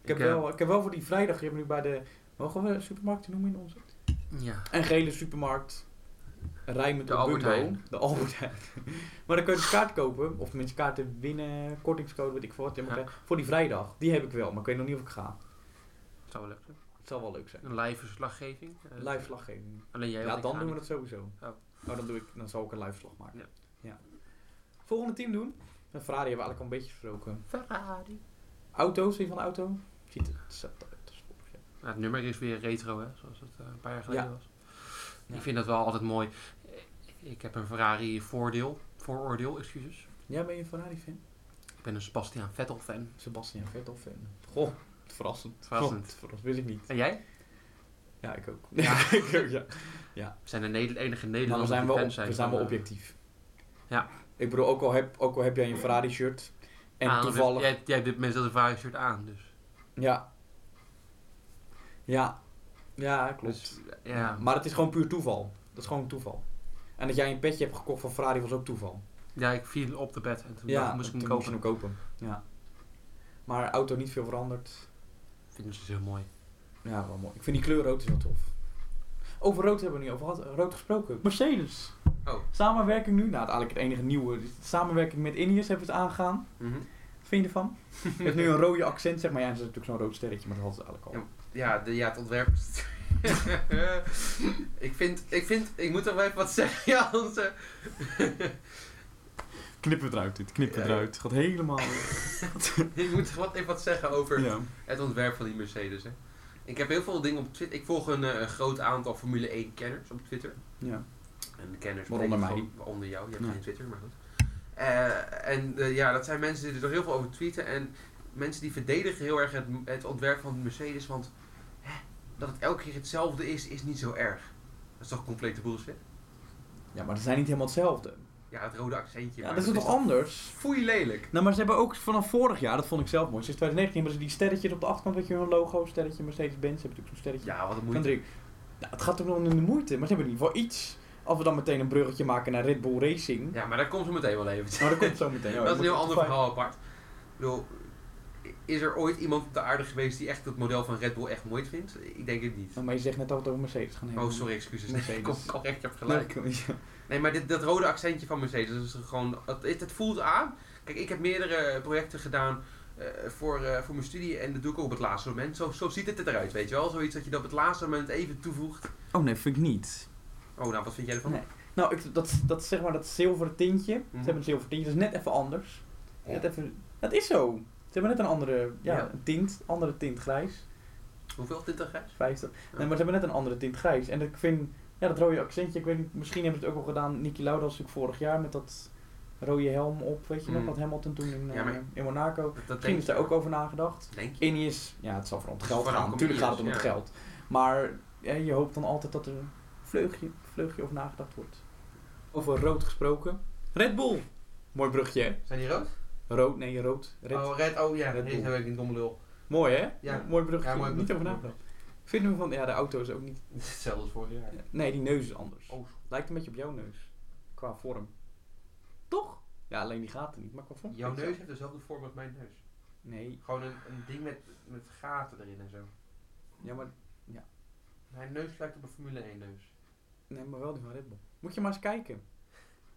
Speaker 4: Ik,
Speaker 1: heb,
Speaker 4: eh,
Speaker 1: wel, ik heb wel voor die vrijdag, je hebt nu bij de... Mogen we supermarkten noemen in onze?
Speaker 4: Ja.
Speaker 1: Een gele supermarkt. Een rij met
Speaker 4: De
Speaker 1: een
Speaker 4: Albert
Speaker 1: Bumbo.
Speaker 4: Heijn.
Speaker 1: De Albert Heijn. maar dan kun je dus kaart kopen. Of mensen kaarten winnen, kortingscode, weet ik veel wat. je mag
Speaker 4: Ja.
Speaker 1: krijgen. Voor die vrijdag. Die heb ik wel, maar ik weet nog niet of ik ga.
Speaker 4: Dat zou wel leuk zijn.
Speaker 1: Het zal wel leuk zijn.
Speaker 4: Een live verslaggeving. eh,
Speaker 1: Live vlaggeving.
Speaker 4: Alleen jij
Speaker 1: Ja,
Speaker 4: want ik
Speaker 1: dan
Speaker 4: ga
Speaker 1: doen we
Speaker 4: niet.
Speaker 1: dat sowieso.
Speaker 4: Oh.
Speaker 1: Oh, dan, doe ik, dan zal ik een live vlag maken.
Speaker 4: Ja.
Speaker 1: Ja. Volgende team doen. En Ferrari hebben we eigenlijk al een beetje gesproken.
Speaker 4: Ferrari.
Speaker 1: Auto's, een van de auto? Ziet het. zet het- het is op, ja.
Speaker 4: Nou, het nummer is weer retro, hè, zoals het eh, een paar jaar geleden
Speaker 1: Ja.
Speaker 4: was.
Speaker 1: Ja.
Speaker 4: Ik vind dat wel altijd mooi. Eh, Ik heb een Ferrari voordeel, vooroordeel, excuses.
Speaker 1: Jij ben je een Ferrari-fan?
Speaker 4: Ik ben een Sebastian Vettel fan.
Speaker 1: Sebastian Vettel-fan. Goh, verrassend.
Speaker 4: Verrassend.
Speaker 1: Goh, verrassend, wist ik niet.
Speaker 4: En jij?
Speaker 1: Ja, ik ook.
Speaker 4: Ja.
Speaker 1: ik ook, ja.
Speaker 4: We zijn de neder- enige
Speaker 1: Maar we
Speaker 4: Nederlanders
Speaker 1: zijn
Speaker 4: die
Speaker 1: wel,
Speaker 4: fan
Speaker 1: op-
Speaker 4: zijn.
Speaker 1: we zijn wel
Speaker 4: van, eh,
Speaker 1: objectief.
Speaker 4: Ja.
Speaker 1: Ik bedoel, ook al heb, ook al heb jij een Ferrari-shirt. En
Speaker 4: aan-
Speaker 1: toevallig...
Speaker 4: Ah, Jij, jij hebt dit moment zelfs een Ferrari shirt aan, dus.
Speaker 1: Ja. Ja. Ja, klopt.
Speaker 4: Dus, eh, ja.
Speaker 1: Maar het is gewoon puur toeval. Dat is gewoon toeval. En dat jij een petje hebt gekocht van Ferrari was ook toeval.
Speaker 4: ja, ik viel op de bed en toen dacht ik, moest ik hem
Speaker 1: toen
Speaker 4: kopen.
Speaker 1: moest je hem kopen. Ja. Maar auto niet veel veranderd.
Speaker 4: Ik vind het dus heel mooi.
Speaker 1: Ja, wel mooi. Ik vind die kleur rood is wel tof. Over rood hebben we niet over gehad. Rood gesproken. Mercedes.
Speaker 4: Oh.
Speaker 1: Samenwerking nu. Nou, het is eigenlijk het enige nieuwe. De Samenwerking met Indiërs hebben ze het aangegaan.
Speaker 2: Mhm.
Speaker 1: Wat vind je ervan? Het heeft nu een rode accent, zeg maar. Ja, en ze is natuurlijk zo'n rood sterretje, maar dat had ze eigenlijk al.
Speaker 4: Ja.
Speaker 2: Ja, de, ja het ontwerp. is- ik, vind, ik vind, ik moet er wel even wat zeggen. Ja, anders, eh,
Speaker 1: Knippen eruit dit, knippen
Speaker 2: Ja, ja.
Speaker 1: eruit. Gaat helemaal...
Speaker 2: ik moet er wat, even wat zeggen over
Speaker 1: ja.
Speaker 2: het ontwerp van die Mercedes. Hè. Ik heb heel veel dingen op Twitter. Ik volg een, eh, een groot aantal Formule 1 kenners op Twitter.
Speaker 1: ja.
Speaker 2: En de kenners
Speaker 1: Waaronder
Speaker 2: betekent gewoon Onder jou, je hebt
Speaker 1: Ja.
Speaker 2: geen Twitter, maar goed. Eh, en eh, ja, dat zijn mensen die er heel veel over tweeten. En mensen die verdedigen heel erg het, het ontwerp van Mercedes. Want hè, dat het elke keer hetzelfde is, is niet zo erg. Dat is toch complete bullshit?
Speaker 1: Ja, maar ze zijn niet helemaal hetzelfde.
Speaker 2: Ja, het rode accentje.
Speaker 1: Ja,
Speaker 2: maar
Speaker 1: dat is toch anders?
Speaker 2: Foei lelijk.
Speaker 1: Nou, maar ze hebben ook vanaf vorig jaar, dat vond ik zelf mooi, sinds 2019 hebben ze die sterretjes op de achterkant, weet je, een logo, sterretje Mercedes-Benz, heb ik ook zo'n sterretje.
Speaker 2: Ja, wat een
Speaker 1: Van
Speaker 2: moeite.
Speaker 1: drie. Nou, het gaat toch wel om de moeite, maar ze hebben in ieder geval iets. Als we dan meteen een bruggetje maken naar Red Bull Racing.
Speaker 2: Ja, maar dat komt zo meteen wel eventjes.
Speaker 1: Maar dat komt zo meteen.
Speaker 2: dat is een heel ander verhaal apart. Ik bedoel, is er ooit iemand op de aarde geweest die echt het model van Red Bull echt mooi vindt? Ik denk het niet.
Speaker 1: Ja, Oh, maar je zegt net dat we het over Mercedes gaan hebben.
Speaker 2: Oh, sorry, excuses. Nee, ik kom
Speaker 1: Mercedes.
Speaker 2: correct, je hebt
Speaker 1: Nee,
Speaker 2: gelijk.
Speaker 1: kom- ja.
Speaker 2: Nee, maar dit, dat rode accentje van Mercedes, dat is gewoon, dat, het, het voelt aan. Kijk, ik heb meerdere projecten gedaan eh, voor, eh, voor mijn studie en dat doe ik ook op het laatste moment. Zo, zo ziet het eruit, weet je wel? Zoiets dat je dat op het laatste moment even toevoegt.
Speaker 1: Oh nee, vind ik niet.
Speaker 2: Oh, nou, wat vind jij ervan?
Speaker 1: Nee. Nou, ik, dat, dat zeg maar dat zilveren tintje. Ze hebben een zilveren tintje, dat is net even anders.
Speaker 2: Mhm. Ja.
Speaker 1: Net even, dat is zo. Ze hebben net een andere ja,
Speaker 2: Ja.
Speaker 1: een tint, andere tint grijs.
Speaker 2: Hoeveel tinten grijs?
Speaker 1: 50. Nee, maar ze hebben net een andere tint grijs. En ik vind, ja, dat rode accentje, ik weet niet, misschien hebben ze het ook al gedaan. Niki Lauda was natuurlijk vorig jaar met dat rode helm op, weet je nog,
Speaker 2: Mm.
Speaker 1: wat Hamilton toen in, eh,
Speaker 2: Ja, maar-
Speaker 1: in Monaco.
Speaker 2: Dat, dat
Speaker 1: Misschien
Speaker 2: denk
Speaker 1: is daar
Speaker 2: ik.
Speaker 1: ook over nagedacht.
Speaker 2: Denk je?
Speaker 1: Ineos, ja, het zal vooral om het
Speaker 2: Het is
Speaker 1: geld
Speaker 2: vooral
Speaker 1: gaan.
Speaker 2: om
Speaker 1: Natuurlijk gaat het om
Speaker 2: Ineos,
Speaker 1: het
Speaker 2: ja.
Speaker 1: geld. Maar ja, je hoopt dan altijd dat er een vleugje, vleugje over nagedacht wordt. Over rood gesproken. Red Bull! Mooi brugje, hè?
Speaker 2: Zijn die rood?
Speaker 1: Rood, nee, rood. Red.
Speaker 2: Oh, red. Oh ja,
Speaker 1: Red
Speaker 2: dat
Speaker 1: Bull.
Speaker 2: is ik een domme lul.
Speaker 1: Mooi, hè?
Speaker 2: Ja.
Speaker 1: Mooi brugje.
Speaker 2: Ja, mooi
Speaker 1: Niet
Speaker 2: brugje.
Speaker 1: over nagedacht. Vinden we van, ja, de auto is ook niet
Speaker 2: Hetzelfde als vorig jaar.
Speaker 1: Nee, die neus is anders.
Speaker 2: Oh.
Speaker 1: Lijkt een beetje op jouw neus. Qua vorm. Toch? Ja, alleen die gaten niet, maar qua vorm.
Speaker 2: Jouw
Speaker 1: Ik zeg-
Speaker 2: neus heeft dezelfde vorm als mijn neus.
Speaker 1: Nee.
Speaker 2: Gewoon een, een ding met, met gaten erin en zo.
Speaker 1: Ja, maar,
Speaker 2: Mijn neus lijkt op een Formule 1 neus.
Speaker 1: nee, maar wel die van Red Bull. Moet je maar eens kijken.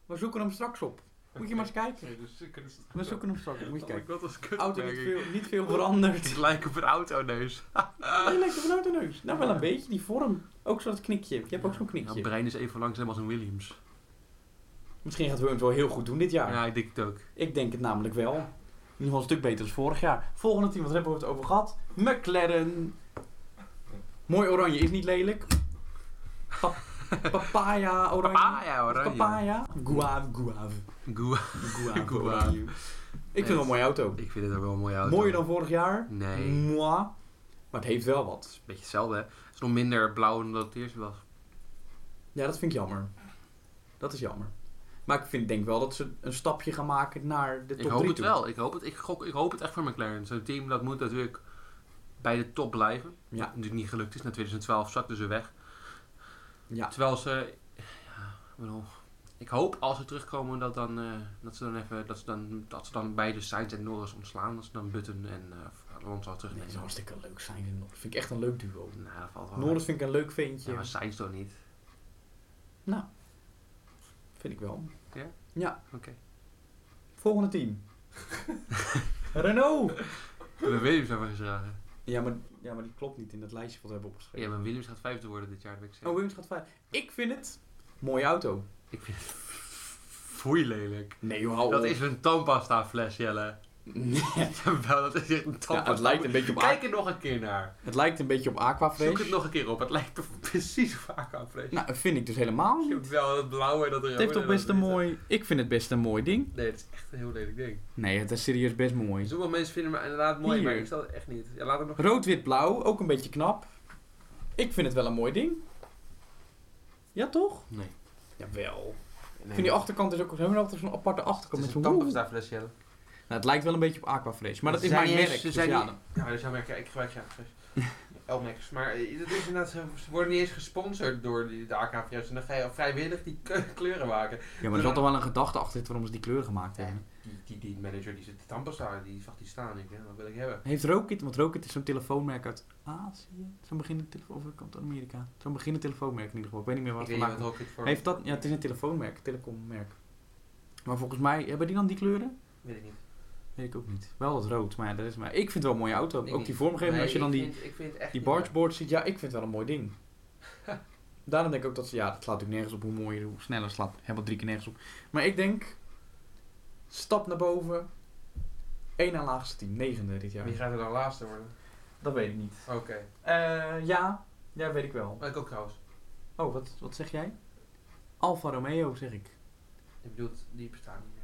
Speaker 1: We zoeken hem straks op. Moet je maar eens kijken.
Speaker 4: dus ze kunnen
Speaker 1: We zoeken hem straks op.
Speaker 2: oh
Speaker 1: Moet je kijken.
Speaker 4: Dat was kut.
Speaker 1: Auto niet veel, niet veel veranderd.
Speaker 4: Het lijkt op een autoneus.
Speaker 1: Nee, lijkt op een auto neus. Nou, wel een beetje die vorm. Ook zo'n knikje. Je hebt ook zo'n
Speaker 4: Ja,
Speaker 1: knikje.
Speaker 4: brein is even langzaam als een Williams.
Speaker 1: Misschien gaat Wurms wel heel goed doen dit
Speaker 4: Ja,
Speaker 1: jaar.
Speaker 4: ik denk het ook.
Speaker 1: Ik denk het namelijk wel. ieder geval een stuk beter dan vorig jaar. Volgende team, wat hebben we het over gehad? McLaren. Mooi oranje is niet lelijk. Pa- papaya oranje.
Speaker 2: Papaya, oranje.
Speaker 1: Papaya. Guave, guave.
Speaker 2: Goe-
Speaker 1: Guave,
Speaker 2: Guave.
Speaker 1: oranje. Ik vind het wel een mooie auto.
Speaker 2: Ik vind het ook wel een mooie auto.
Speaker 1: Mooier dan Mm. vorig jaar.
Speaker 2: Nee, het
Speaker 1: Moi. Maar het heeft wel wat.
Speaker 2: is een beetje hetzelfde. hè. Het is nog minder blauw dan dat het eerst was.
Speaker 1: Ja, dat vind ik jammer. Dat is jammer. Maar ik vind, denk wel dat ze een stapje gaan maken naar de top
Speaker 2: Ik hoop
Speaker 1: 3
Speaker 2: het wel. Ik hoop het, ik, gok, ik hoop het echt voor McLaren. Zo'n team dat moet natuurlijk bij de top blijven.
Speaker 1: Ja.
Speaker 2: Wat natuurlijk niet gelukt is. Na 2012 zakten ze weg.
Speaker 1: Ja.
Speaker 2: Terwijl ze... Ja, ik bedoel, ik hoop als ze terugkomen dat, dan, eh, dat, ze dan even, dat, ze dan, dat ze dan beide Sainz en Norris ontslaan. Dat ze dan Button en eh Alonso
Speaker 1: Nee, dat
Speaker 2: terugnemen.
Speaker 1: zou hartstikke leuk zijn. en Norris vind ik echt een leuk duo.
Speaker 2: nou, dat valt wel mee.
Speaker 1: Norris vind ik een leuk ventje.
Speaker 2: Ja, maar Sainz toch niet?
Speaker 1: Vind ik wel.
Speaker 2: Ja?
Speaker 1: Ja.
Speaker 2: Oké.
Speaker 1: Volgende team. Renault.
Speaker 2: We hebben Williams daarvoor gedragen.
Speaker 1: Ja maar, ja, maar die klopt niet in dat lijstje wat we hebben opgeschreven.
Speaker 2: Ja, maar Williams gaat vijfde worden dit jaar. dat weet ik zeker.
Speaker 1: Oh, Williams gaat vijf. Ik vind het... Mooie auto.
Speaker 2: Ik vind het foei lelijk.
Speaker 1: Nee, joh, hou
Speaker 2: Dat
Speaker 1: op.
Speaker 2: is een tandpasta fles, Jelle.
Speaker 1: Nee.
Speaker 2: Jawel, dat is echt een tandpasta.
Speaker 1: Ja, het lijkt een beetje op,
Speaker 2: Kijk
Speaker 1: aqua
Speaker 2: er nog een keer naar.
Speaker 1: het lijkt een beetje op Aquafresh.
Speaker 2: Zoek het nog een keer op. Het lijkt er precies op Aquafresh.
Speaker 1: Nou, dat vind ik dus helemaal niet.
Speaker 2: Wel dat blauwe en dat
Speaker 1: Het heeft toch best een mooi... Ik vind het best een mooi ding.
Speaker 2: Nee, het is echt een heel lelijk ding.
Speaker 1: Nee, het is serieus best mooi.
Speaker 2: Zoveel mensen vinden me inderdaad mooi,
Speaker 1: Hier.
Speaker 2: maar ik stel het echt niet. Ja, laat hem nog...
Speaker 1: Rood, wit, blauw, ook een beetje knap. Ik vind het wel een mooi ding. Ja, toch?
Speaker 2: Nee.
Speaker 1: Jawel. Ik vind die achterkant is ook helemaal altijd zo'n aparte
Speaker 4: Het
Speaker 1: achterkant
Speaker 4: is
Speaker 1: met
Speaker 4: een
Speaker 1: zo'n woe. Nou,
Speaker 4: tandpasta fles, Jelle.
Speaker 1: het lijkt wel een beetje op Aquafresh, maar dat
Speaker 2: Ze
Speaker 1: is
Speaker 2: zijn
Speaker 1: mijn
Speaker 2: niet eens-
Speaker 1: merk.
Speaker 2: ze
Speaker 1: dus
Speaker 2: zijn
Speaker 1: ja,
Speaker 2: niet-
Speaker 1: dan-
Speaker 4: Ja, dat is jouw Ik gebruik jouw Elmex. Maar eh, dat is inderdaad, zo- ze worden niet eens gesponsord door die- de AKVS. En dan ga je vrijwillig die ke- kleuren maken.
Speaker 1: Ja, maar er zat toch wel een gedachte achter zitten waarom ze die kleuren gemaakt
Speaker 4: Ja,
Speaker 1: hebben.
Speaker 4: die, die, die manager die zit te tandpasta, die zag die staan. Ik, hè, dat wil ik hebben.
Speaker 1: Heeft Rocket, want Rocket is zo'n telefoonmerk uit Azië. Zo'n beginnend telefoon, of komt uit Amerika. Zo'n beginnend telefoonmerk in ieder geval. Ik weet niet meer
Speaker 4: Ik
Speaker 1: wat
Speaker 4: weet
Speaker 1: het
Speaker 4: niet wat
Speaker 1: maakt.
Speaker 4: Rocket voor...
Speaker 1: Heeft dat? Ja, het is een telefoonmerk, telecommerk. Maar volgens mij, hebben die dan die kleuren?
Speaker 4: Weet ik niet.
Speaker 1: Weet ik ook niet. Wel dat rood, maar ja, dat is maar. Ik vind het wel een mooie auto.
Speaker 4: Ik
Speaker 1: ook
Speaker 4: niet.
Speaker 1: die vormgeving,
Speaker 4: Nee,
Speaker 1: als je dan
Speaker 4: ik
Speaker 1: die,
Speaker 4: vind- ik vind het echt
Speaker 1: die
Speaker 4: niet leuk.
Speaker 1: bargeboard ziet, ja, ik vind het wel een mooi ding. Daarom denk ik ook dat ze, ja, dat slaat natuurlijk nergens op hoe mooier, hoe sneller slaat. Helemaal drie keer nergens op. Maar ik denk, stap naar boven. Eén na laagste team, negende dit jaar.
Speaker 4: Wie gaat er dan laatste worden?
Speaker 1: Dat weet ik niet.
Speaker 4: Oké.
Speaker 1: Eh, ja, ja, weet ik wel.
Speaker 4: Maar ik ook trouwens.
Speaker 1: Oh, wat, wat zeg jij? Alfa Romeo, zeg ik.
Speaker 4: Ik bedoel, die bestaan niet meer.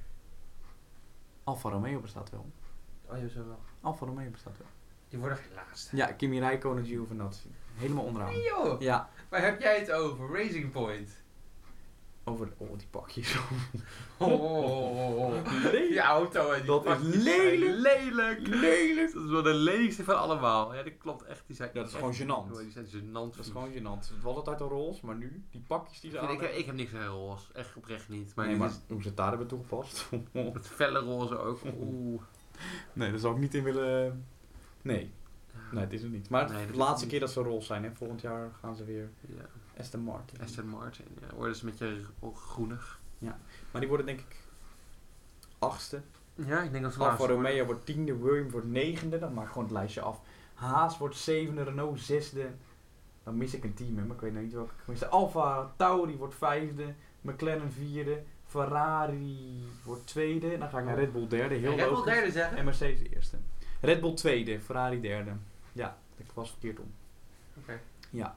Speaker 1: Alfa Romeo bestaat wel.
Speaker 4: Oh, je zo wel.
Speaker 1: Alfa Romeo bestaat wel.
Speaker 4: Die worden geen laatste.
Speaker 1: Ja, Kimi Räikkönen, Giovinazzi. Helemaal onderaan.
Speaker 4: Nee, joh,
Speaker 1: Ja,
Speaker 4: waar heb jij het over? Racing Point.
Speaker 1: Over oh, die pakjes.
Speaker 4: Oh, oh, oh, oh.
Speaker 1: Nee.
Speaker 4: Die auto en die
Speaker 1: Dat is
Speaker 4: pakjes zijn
Speaker 1: lelijk.
Speaker 2: Lelijk!
Speaker 1: Lelijk.
Speaker 2: Dat is wel de lelijkste van allemaal. Ja, dat klopt echt. Die zijn
Speaker 1: Ja, dat is
Speaker 2: echt-
Speaker 1: gewoon gênant.
Speaker 2: Die zijn dus gênant.
Speaker 1: Dat is gewoon gênant. Het was altijd een roze, maar nu, die pakjes die ze aan
Speaker 2: Ik, ik heb niks aan roze. Echt oprecht niet. Maar,
Speaker 1: Nee,
Speaker 2: dit
Speaker 1: maar
Speaker 2: is
Speaker 1: hoe ze het daar hebben toegepast.
Speaker 2: het felle roze ook. Oeh.
Speaker 1: nee, daar zou ik niet in willen... Nee, nee, het is het niet. Maar
Speaker 2: Nee, dat
Speaker 1: de
Speaker 2: is
Speaker 1: laatste
Speaker 2: het niet.
Speaker 1: keer dat ze roze zijn, hè. volgend jaar gaan ze weer
Speaker 2: Ja.
Speaker 1: Aston Martin.
Speaker 2: Aston Martin, ja. Worden ze met je groenig.
Speaker 1: Maar die worden denk ik achtste.
Speaker 2: Ja, ik denk dat ze
Speaker 1: Alfa
Speaker 2: laatste
Speaker 1: Romeo wordt tiende, William wordt negende. Dan maak ik gewoon het lijstje af. Haas wordt zevende, Renault zesde. Dan mis ik een team, hè, maar ik weet nou niet welke ik mis. Alfa Tauri wordt vijfde, McLaren vierde, Ferrari wordt tweede. En dan ga ik naar Red Bull derde, heel
Speaker 4: Ik heb wel
Speaker 1: logisch.
Speaker 4: derde zeggen.
Speaker 1: En Mercedes eerste. Red Bull tweede, Ferrari derde. Ja, ik was verkeerd om.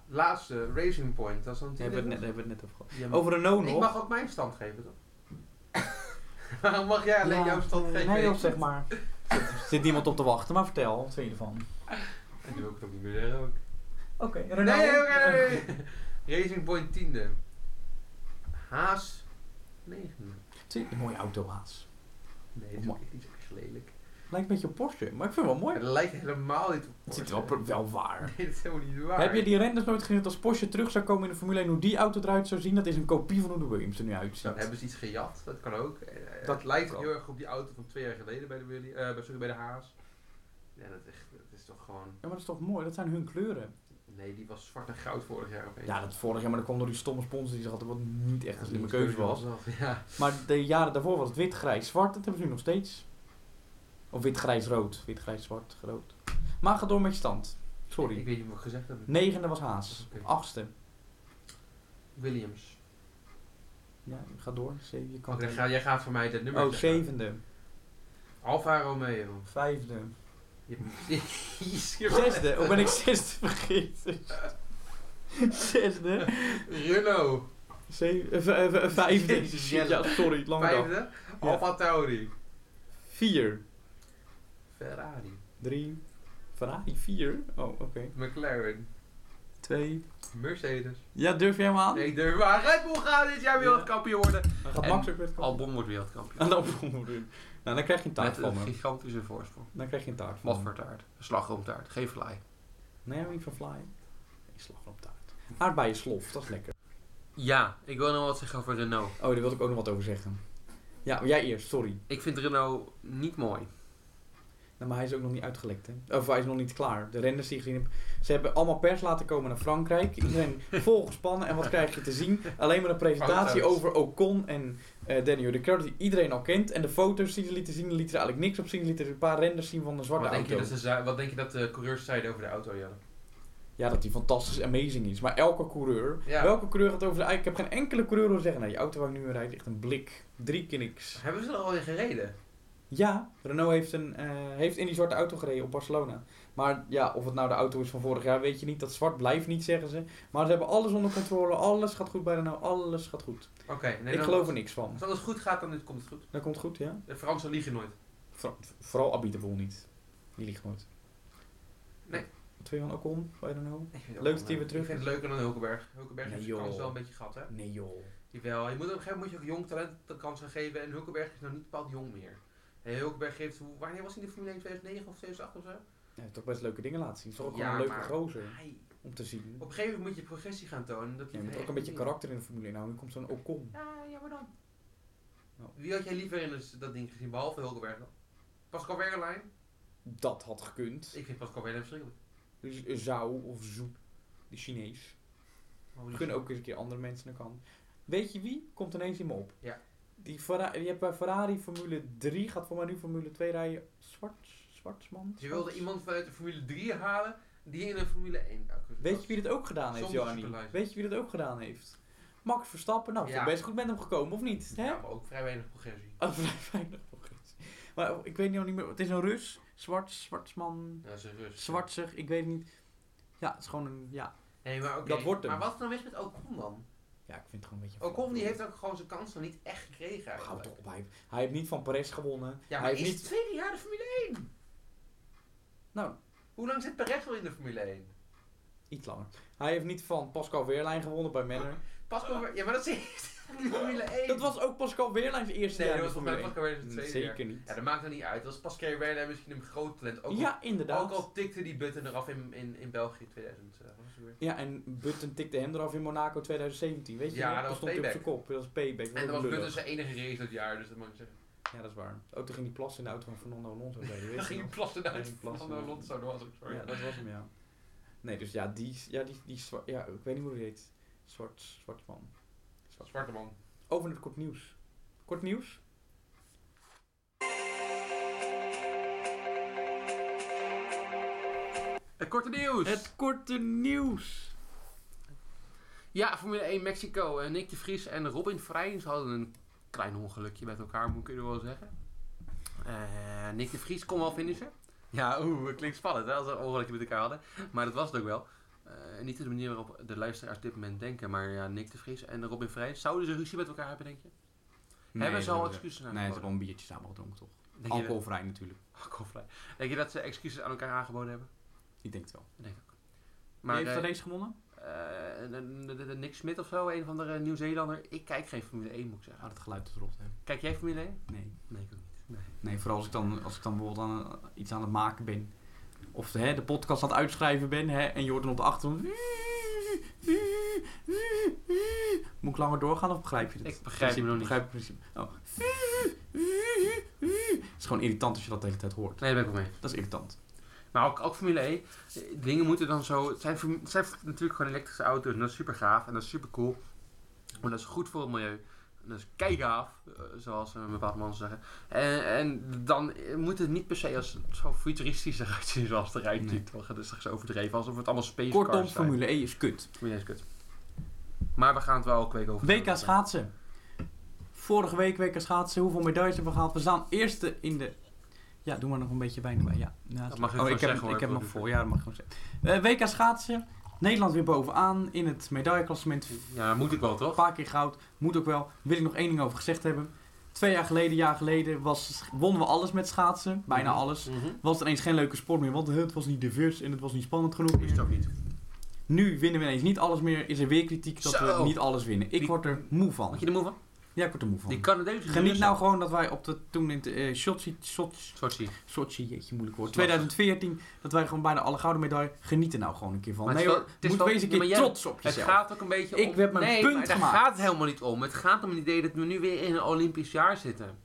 Speaker 4: Laatste, Racing Point. Dat is dan
Speaker 1: Daar hebben, we het net-
Speaker 4: tiende.
Speaker 1: hebben we het net over gehad.
Speaker 4: Ja, maar-
Speaker 1: Over Renault
Speaker 4: Ik
Speaker 1: nog.
Speaker 4: mag ook mijn stand geven, toch? Waarom mag jij alleen
Speaker 1: Ja,
Speaker 4: jouw stand geven?
Speaker 1: Nee, joh, zeg maar. Zit, zit niemand op te wachten, maar vertel, wat vind je ervan?
Speaker 4: En nu wil ik het ook niet meer zeggen. Ook.
Speaker 1: Oké,
Speaker 4: Nee,
Speaker 1: Renault.
Speaker 4: nee, nee, nee. Racing Point tiende. Haas negende.
Speaker 1: Zie, Een mooie auto, Haas.
Speaker 4: Nee, dat is ook echt niet zo erg lelijk.
Speaker 1: Lijkt een beetje op Porsche, maar ik vind het wel mooi.
Speaker 4: Het lijkt helemaal niet op
Speaker 1: Het
Speaker 4: Porsche.
Speaker 1: zit wel, pro- wel waar.
Speaker 4: Nee, dat is helemaal niet waar.
Speaker 1: Heb je die renders nooit gezien dat als Porsche terug zou komen in de Formule 1, hoe die auto eruit zou zien? Dat is een kopie van hoe de Williams er nu
Speaker 4: Dan
Speaker 1: uitziet.
Speaker 4: hebben ze iets gejat, dat kan ook. Eh, eh,
Speaker 1: Dat
Speaker 4: het lijkt
Speaker 1: kan.
Speaker 4: heel erg op die auto van twee jaar geleden bij de, Willy, eh, bij- sorry, bij de Haas. Ja, dat is, echt- dat is toch gewoon...
Speaker 1: Ja, maar dat is toch mooi? Dat zijn hun kleuren.
Speaker 4: Nee, die was zwart en goud vorig jaar opeens. Dus
Speaker 1: Ja, dat vorig jaar, maar dat kwam door die stomme sponsor die ze hadden, wat niet echt een slimme
Speaker 4: mijn
Speaker 1: keuze was.
Speaker 4: Ja.
Speaker 1: Maar de jaren daarvoor was het wit, grijs, zwart. Dat hebben ze nu nog steeds. Of wit, grijs, rood. Wit, grijs, zwart, rood. Maar ga door met je stand.
Speaker 4: Ik,
Speaker 1: Sorry.
Speaker 4: weet niet wat ik gezegd heb.
Speaker 1: Negende was Haas.
Speaker 4: Oké.
Speaker 1: Achtste.
Speaker 4: Williams.
Speaker 1: Ja, ga door. Zeven, je kan
Speaker 4: Oké, dan ga- jij gaat voor mij dat nummer
Speaker 1: Oh,
Speaker 4: zeggen.
Speaker 1: zevende.
Speaker 2: Alfa Romeo.
Speaker 1: Vijfde.
Speaker 2: Je-
Speaker 1: Zesde. Hoe ben ik zesde vergeten? Zesde.
Speaker 4: Renault.
Speaker 1: Zeven, eh, eh, eh, vijfde.
Speaker 4: Jezus, Jelle.
Speaker 1: Ja, sorry. Lange dag.
Speaker 4: Vijfde. Alfa Tauri.
Speaker 1: Vier.
Speaker 4: Ferrari.
Speaker 1: Drie. Ferrari. Vier. Oh, oké.
Speaker 4: McLaren.
Speaker 1: Twee.
Speaker 4: Mercedes.
Speaker 5: Ja, durf jij hem
Speaker 1: Ah.
Speaker 5: aan?
Speaker 4: Nee, durf maar. Red Bull gaat dit jaar wereldkampioen worden.
Speaker 1: Dan gaat
Speaker 2: En
Speaker 1: Max ook weer het kamp.
Speaker 2: Albon
Speaker 1: En
Speaker 2: wordt wereldkampioen.
Speaker 1: dan Nou, dan krijg je een taart
Speaker 2: Met
Speaker 1: van
Speaker 2: een
Speaker 1: me. Mm.
Speaker 2: gigantische voorsprong.
Speaker 1: Dan krijg je een taart van
Speaker 2: Wat
Speaker 1: me.
Speaker 2: voor taart? Slagroomtaart. Geen fly.
Speaker 1: Nee, niet van fly. Ik slag op taart. Aardbeien slof, dat is lekker.
Speaker 2: Ja, ik wil nog wat zeggen over Renault.
Speaker 1: Oh, daar wilde ik ook nog wat over zeggen. Ja, maar jij eerst, sorry.
Speaker 2: Ik vind Renault niet mooi.
Speaker 1: Nou, maar hij is ook nog niet uitgelekt, hè? Of hij is nog niet klaar. De renders die ik gezien heb, ze hebben allemaal pers laten komen naar Frankrijk. Iedereen volgespannen en wat krijg je te zien? Alleen maar een presentatie
Speaker 4: Foto's.
Speaker 1: over Ocon en eh Daniel Ricciardo, die iedereen al kent. En de foto's die ze lieten zien, lieten ze eigenlijk niks op zien. Lieten ze een paar renders zien van de zwarte
Speaker 4: Wat denk, je
Speaker 1: auto.
Speaker 4: dat ze zei- wat denk je dat de coureurs zeiden over de auto, Jelle?
Speaker 1: Ja, dat die fantastisch amazing is. Maar elke coureur,
Speaker 4: Ja.
Speaker 1: welke coureur gaat over de... Ik heb geen enkele coureur horen zeggen, nou, die auto waar ik nu in rijd, echt een blik. Drie keer niks.
Speaker 4: Hebben ze er al in gereden?
Speaker 1: Ja, Renault heeft, een, eh, heeft in die zwarte auto gereden op Barcelona. Maar ja, of het nou de auto is van vorig jaar, weet je niet. Dat zwart blijft niet, zeggen ze. Maar ze hebben alles onder controle. Alles gaat goed bij Renault. Alles gaat goed.
Speaker 4: Oké, nee,
Speaker 1: ik
Speaker 4: dan-
Speaker 1: geloof er niks van.
Speaker 4: Als alles goed gaat, dan komt het goed.
Speaker 1: Dat komt goed, ja.
Speaker 4: De Fransen liegen nooit.
Speaker 1: Voor- vooral Abiteboel niet. Die liegt nooit.
Speaker 4: Nee.
Speaker 1: Twee van Ocon bij Renault.
Speaker 4: Ik vind het
Speaker 1: Leuk
Speaker 4: ook
Speaker 1: dat hij
Speaker 4: wel
Speaker 1: weer terug
Speaker 4: Ik vind het leuker dan Hulkenberg. Hulkenberg
Speaker 1: Nee,
Speaker 4: heeft
Speaker 1: joh.
Speaker 4: zijn kans wel een beetje gehad, hè?
Speaker 1: Nee joh.
Speaker 4: Jawel, je moet op een gegeven moment moet je ook jong talent de kans gaan geven. En Hulkenberg is nou niet bepaald jong meer. En Hulkenberg geeft, hoe- wanneer was hij in de Formule 1? 2009 of 2008 of zo?
Speaker 1: Hij heeft toch best leuke dingen laten zien. Het is toch ook
Speaker 4: Ja,
Speaker 1: gewoon een leuke
Speaker 4: maar-
Speaker 1: gozer
Speaker 4: Hij-
Speaker 1: om te zien.
Speaker 4: op een gegeven moment moet je progressie gaan tonen. Dat
Speaker 1: Ja, je
Speaker 4: hij
Speaker 1: moet ook
Speaker 4: echt
Speaker 1: een beetje
Speaker 4: niet-
Speaker 1: karakter in de Formule 1 houden. Nu komt zo'n Ocon.
Speaker 4: Ja, ja, maar dan.
Speaker 1: Nou.
Speaker 4: Wie had jij liever in dus dat ding gezien, behalve Hulkenberg dan? Pascal Wehrlein?
Speaker 1: Dat had gekund.
Speaker 4: Ik vind Pascal Wehrlein verschrikkelijk.
Speaker 1: Dus Zou of Zoe, de Chinees.
Speaker 4: Maar hoe
Speaker 1: We
Speaker 4: die-
Speaker 1: kunnen ook eens een keer andere mensen naar kant. Weet je wie? Komt ineens in me op.
Speaker 4: Ja.
Speaker 1: Die, Ferra- je hebt bij Ferrari Formule 3, gaat voor mij nu Formule 2 rijden. Zwarts, Zwartsman.
Speaker 4: Ze wilden Dus iemand vanuit de Formule 3 halen die in een Formule 1 accu
Speaker 1: Weet je wie dat ook gedaan heeft,
Speaker 4: Zonder
Speaker 1: Johnny?
Speaker 4: superlijst.
Speaker 1: Weet je wie dat ook gedaan heeft? Max Verstappen. Nou, ik
Speaker 4: Ja.
Speaker 1: ben best goed met hem gekomen, of niet? Hè?
Speaker 4: Ja, maar ook vrij weinig progressie.
Speaker 1: Oh, vrij weinig nog eens. Maar ik weet nog niet meer. Het is een Rus. Zwarts, Zwartsman.
Speaker 4: Ja, dat is een rust.
Speaker 1: Zwartsig, ik weet het niet. Ja, het is gewoon een. Ja,
Speaker 4: Nee, maar oké.
Speaker 1: Dat wordt hem.
Speaker 4: Maar wat is nou mis met Ocon dan?
Speaker 1: ja ik vind het gewoon een beetje.
Speaker 4: Ocon die heeft ook gewoon zijn kans nog niet echt gekregen
Speaker 1: Hou
Speaker 4: eigenlijk.
Speaker 1: toch op, hij heeft, hij heeft niet van Perez gewonnen. hij
Speaker 4: Ja, maar
Speaker 1: heeft
Speaker 4: is
Speaker 1: niet.
Speaker 4: het tweede jaar de Formule 1?
Speaker 1: Nou,
Speaker 4: Hoe lang zit Perez al in de Formule 1?
Speaker 1: Iets langer. Hij heeft niet van Pascal Weerlijn gewonnen bij Manor.
Speaker 4: Pascal Wehr- Ja, maar dat zit in de Formule 1.
Speaker 1: Dat was ook Pascal Weerlijn's eerste
Speaker 4: Nee,
Speaker 1: jaar
Speaker 4: dat was
Speaker 1: in de
Speaker 4: volgens
Speaker 1: Formule
Speaker 4: mij Pascal Wehr zijn
Speaker 1: 1.
Speaker 4: tweede jaar.
Speaker 1: Zeker
Speaker 4: Ja,
Speaker 1: niet.
Speaker 4: dat maakt nou niet uit. Dat was Pascal Wehrlein misschien een groot talent. Ook
Speaker 1: Ja,
Speaker 4: al, ook
Speaker 1: inderdaad.
Speaker 4: al tikte die button eraf in, in, in België 2000. eh, was het weer.
Speaker 1: Ja, en Button tikte hem eraf in Monaco 2017. Weet je
Speaker 4: Ja,
Speaker 1: nog?
Speaker 4: dat was
Speaker 1: stond hij op
Speaker 4: payback.
Speaker 1: zijn kop. Dat was payback.
Speaker 4: En dat was
Speaker 1: lullig.
Speaker 4: Button zijn enige race dat jaar, dus dat mag ik zeggen.
Speaker 1: Ja, dat is waar. Ook toen ging hij plassen in de auto van Fernando Alonso. Bij, weet je
Speaker 4: Dan ging
Speaker 1: nog?
Speaker 4: hij plassen
Speaker 1: Ja,
Speaker 4: uit
Speaker 1: ging plassen.
Speaker 4: Fernando Alonso, dat was ook sorry.
Speaker 1: Ja, dat was hem, ja. Nee, dus ja, die, ja, die, die zwa- ja, ik weet niet hoe die heet. Zwart, zwart man. Zwart.
Speaker 4: Zwarte man.
Speaker 1: Over naar het kort nieuws. Kort nieuws?
Speaker 2: Het Eh, korte nieuws.
Speaker 5: Het korte nieuws.
Speaker 2: Ja, Formule 1 Mexico. Eh, Nick de Vries en Robin Vrijens hadden een klein ongelukje met elkaar, moet ik er wel zeggen. Eh, Nick de Vries kon wel finishen. Ja, oeh, het klinkt spannend hè, als ze een ongelukje met elkaar hadden. Maar dat was het ook wel. Eh, niet de manier waarop de luisteraars dit moment denken, maar ja, Nick de Vries en Robin Vrijens. Zouden ze ruzie met elkaar hebben, denk je? hebben ze al excuses
Speaker 5: Nee,
Speaker 2: aan
Speaker 5: ze hebben
Speaker 2: aangeboden?
Speaker 5: een biertje samen gedronken, toch?
Speaker 2: Denk je dat-
Speaker 5: Alcoholvrij natuurlijk.
Speaker 2: Alcoholvrij. Denk je dat ze excuses aan elkaar aangeboden hebben?
Speaker 5: Ik denk het wel.
Speaker 2: Ik denk ook.
Speaker 5: Maar
Speaker 2: Maar
Speaker 5: heeft
Speaker 2: eh,
Speaker 5: de race gewonnen?
Speaker 2: eh, de- de- de- Nick Smit of zo, een van de Nieuw-Zeelander. Ik kijk geen Formule 1, moet ik
Speaker 5: Ah,
Speaker 2: zeggen.
Speaker 5: dat geluid is rot, hè?
Speaker 2: Kijk jij Formule 1?
Speaker 5: Nee.
Speaker 2: Nee, ik ook niet.
Speaker 5: Nee, vooral als ik dan, als ik dan bijvoorbeeld aan, eh, iets aan het maken ben. Of hè, de podcast aan het uitschrijven ben hè, en je hoort dan op de achtergrond. Moet ik langer doorgaan of begrijp je het?
Speaker 2: Ik begrijp hem nog niet.
Speaker 5: Begrijp het principe. Oh. Het is gewoon irritant als je dat de hele tijd hoort.
Speaker 2: Nee, daar ben ik wel mee.
Speaker 5: Dat is irritant.
Speaker 2: Maar ook, ook Formule 1. eh, Dingen moeten dan zo... Het zijn, formu- het zijn natuurlijk gewoon elektrische auto's. En dat is super gaaf. En dat is super cool. En dat is goed voor het milieu. En dat is keigaaf. eh, Zoals een bepaald man zeggen. En, en dan eh, moet het niet per se als zo futuristisch eruit zien. Zoals de rij
Speaker 5: Nee.
Speaker 2: natuurlijk toch. Dat is toch zo overdreven. Alsof het allemaal space
Speaker 5: Kortom,
Speaker 2: cars zijn.
Speaker 5: Formule 1 is kut.
Speaker 2: Formule 1 is kut. Maar we gaan het wel elke week over
Speaker 5: WK schaatsen. Vorige week WK schaatsen. Hoeveel medailles hebben we gehaald? We staan eerste in de
Speaker 1: Ja, doe maar nog een beetje wijn bij. Ja. Ja,
Speaker 4: Dat mag je
Speaker 1: oh,
Speaker 4: gewoon
Speaker 1: ik heb,
Speaker 4: zeggen, hoor,
Speaker 1: Ik heb nog
Speaker 4: Bodo.
Speaker 1: voor. Ja, dat mag gewoon zeggen. Eh, WK schaatsen. Nederland weer bovenaan in het medailleklassement.
Speaker 4: Ja, dat moet ik wel,
Speaker 1: Een
Speaker 4: toch?
Speaker 1: paar keer goud. Moet ook wel. Wil ik nog één ding over gezegd hebben. Twee jaar geleden, jaar geleden, was, wonnen we alles met schaatsen. Bijna
Speaker 4: Mhm.
Speaker 1: alles.
Speaker 4: Mhm.
Speaker 1: Was er eens geen leuke sport meer, want het was niet divers en het was niet spannend genoeg.
Speaker 4: Is het ook niet.
Speaker 1: Nu winnen we ineens niet alles meer. Is er weer kritiek dat
Speaker 4: Zo.
Speaker 1: we niet alles winnen. Ik
Speaker 4: Die-
Speaker 1: word er moe van.
Speaker 4: Moet je er moe van?
Speaker 1: Ja, ik word er moe van.
Speaker 4: Die Canadese
Speaker 1: Geniet nou gewoon dat wij op de toen in de eh Sochi, Sochi,
Speaker 4: Sochi.
Speaker 1: Sochi, jeetje moeilijk woord,
Speaker 4: Lastig.
Speaker 1: 2014, dat wij gewoon bijna alle gouden medaille genieten nou gewoon een keer van.
Speaker 4: Maar het
Speaker 1: nee
Speaker 4: is wel-
Speaker 1: hoor,
Speaker 4: het is
Speaker 1: moet
Speaker 4: wel-
Speaker 1: wees een
Speaker 4: ja, maar
Speaker 1: keer
Speaker 4: jij-
Speaker 1: trots op
Speaker 4: Het
Speaker 1: jezelf.
Speaker 4: gaat ook een beetje
Speaker 1: Ik
Speaker 4: om...
Speaker 1: heb mijn
Speaker 4: nee,
Speaker 1: punt
Speaker 4: maar daar
Speaker 1: gemaakt.
Speaker 4: gaat het helemaal niet om. Het gaat om het idee dat we nu weer in een Olympisch jaar zitten.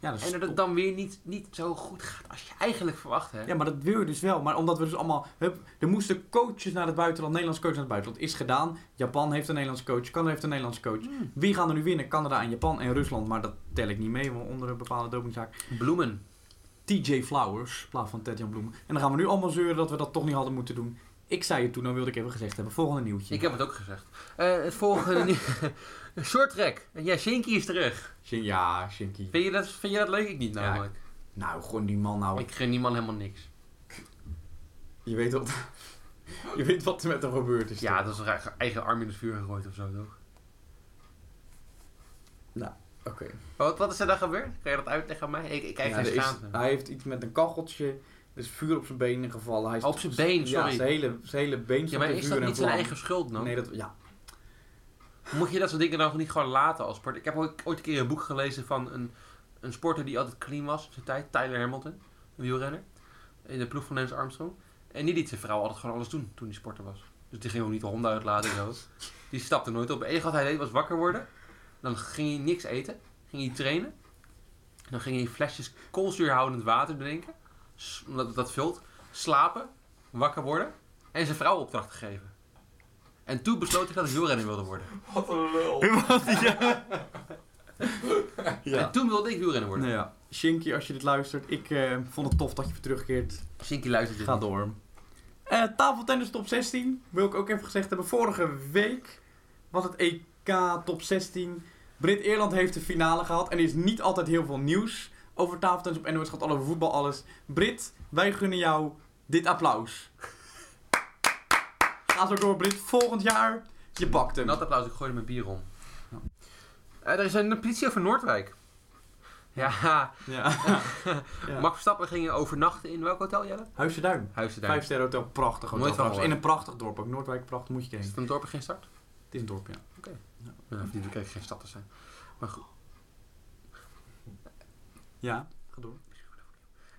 Speaker 1: ja, dat is
Speaker 4: En dat het
Speaker 1: top.
Speaker 4: dan weer niet, niet zo goed gaat als je eigenlijk verwacht hebt.
Speaker 1: ja, maar dat wil je dus wel. Maar omdat we dus allemaal, hup, er moesten coaches naar het buitenland, Nederlandse coaches naar het buitenland. Is gedaan. Japan heeft een Nederlandse coach, Canada heeft een Nederlandse coach.
Speaker 4: Mm.
Speaker 1: Wie gaan er nu winnen? Canada en Japan en Rusland. Maar dat tel ik niet mee, want onder een bepaalde dopingzaak.
Speaker 4: Bloemen.
Speaker 1: TJ Flowers, in plaats van Ted-Jan Bloem. En dan gaan we nu allemaal zeuren dat we dat toch niet hadden moeten doen. Ik zei het toen, dan wilde ik even gezegd hebben. Volgende nieuwtje.
Speaker 4: Ik heb het ook gezegd. Eh, het volgende... nu- Short track. Ja, Shinky is terug.
Speaker 1: Shin- Ja, Shinky.
Speaker 4: Vind je dat, vind je dat leuk? Ik niet
Speaker 1: Ja,
Speaker 4: namelijk.
Speaker 1: Nou, gewoon die man nou.
Speaker 4: ik gun die man helemaal niks.
Speaker 1: Je weet wat, je weet wat er met hem gebeurd is.
Speaker 4: Ja,
Speaker 1: toch?
Speaker 4: dat is een eigen- eigen arm in het vuur gegooid of zo, toch?
Speaker 1: oké.
Speaker 4: Wat, wat is er dan gebeurd? Kan je dat uitleggen aan mij? Ik, ik kijk
Speaker 1: Ja,
Speaker 4: geen
Speaker 1: er is-
Speaker 4: schaamte.
Speaker 1: hij heeft iets met een kacheltje. Er is vuur op zijn benen gevallen. Hij is
Speaker 4: Op zijn been,
Speaker 1: Ja,
Speaker 4: sorry.
Speaker 1: zijn hele, zijn hele been
Speaker 4: Ja,
Speaker 1: stond
Speaker 4: maar
Speaker 1: in
Speaker 4: is
Speaker 1: vuur
Speaker 4: dat
Speaker 1: en
Speaker 4: niet zijn
Speaker 1: vlam.
Speaker 4: eigen schuld dan?
Speaker 1: Nee, dat... Ja.
Speaker 4: Moet je dat soort dingen dan niet gewoon laten als sport? Ik heb ook ooit een keer een boek gelezen van een, een sporter die altijd clean was op zijn tijd. Tyler Hamilton, een wielrenner. In de ploeg van Lance Armstrong. En die liet zijn vrouw altijd gewoon alles doen toen die sporter was. Dus die ging ook niet de honden uitlaten en zo. Die stapte nooit op. Het enige wat hij deed was wakker worden. Dan ging hij niks eten. Ging hij trainen. En dan ging hij flesjes koolzuurhoudend water drinken. S- Omdat dat vult. Slapen. Wakker worden. En zijn vrouw opdrachten geven. En toen besloot ik dat ik wielrenner wilde worden.
Speaker 3: Wat een lul.
Speaker 4: En toen wilde ik wielrenner worden.
Speaker 1: Nou ja. Shinky, als je dit luistert, ik eh, vond het tof dat je weer terugkeert.
Speaker 4: Shinky luistert dit
Speaker 1: Ga
Speaker 4: niet.
Speaker 1: door. Eh tafeltennis top 16. Wil ik ook even gezegd hebben. Vorige week was het EK top 16. Brit-Ierland heeft de finale gehad. En er is niet altijd heel veel nieuws over tafeltennis op NOS. Het gaat al over voetbal, alles. Brit, wij gunnen jou dit applaus. Ga zo door, Brit. Volgend jaar, je pakt hem.
Speaker 4: Nat applaus, ik gooide mijn bier om.
Speaker 1: Ja.
Speaker 4: Eh, er is een politie over Noordwijk. Ja,
Speaker 1: Ja. ja.
Speaker 4: Max Verstappen ging overnachten in welk hotel, Jelle?
Speaker 1: Huisje Duin.
Speaker 4: Huizen daar.
Speaker 1: Vijf sterren hotel, prachtig hotel.
Speaker 4: Nooit van
Speaker 1: trouwens.
Speaker 4: gehoord.
Speaker 1: In een prachtig dorp ook. Noordwijk, prachtig, moet je
Speaker 4: Is
Speaker 1: heen.
Speaker 4: het een dorp en geen start?
Speaker 1: Het is een dorp, ja.
Speaker 4: Ja, of niet, kijk, geen stad te zijn. Maar goed.
Speaker 1: Ja, ga door.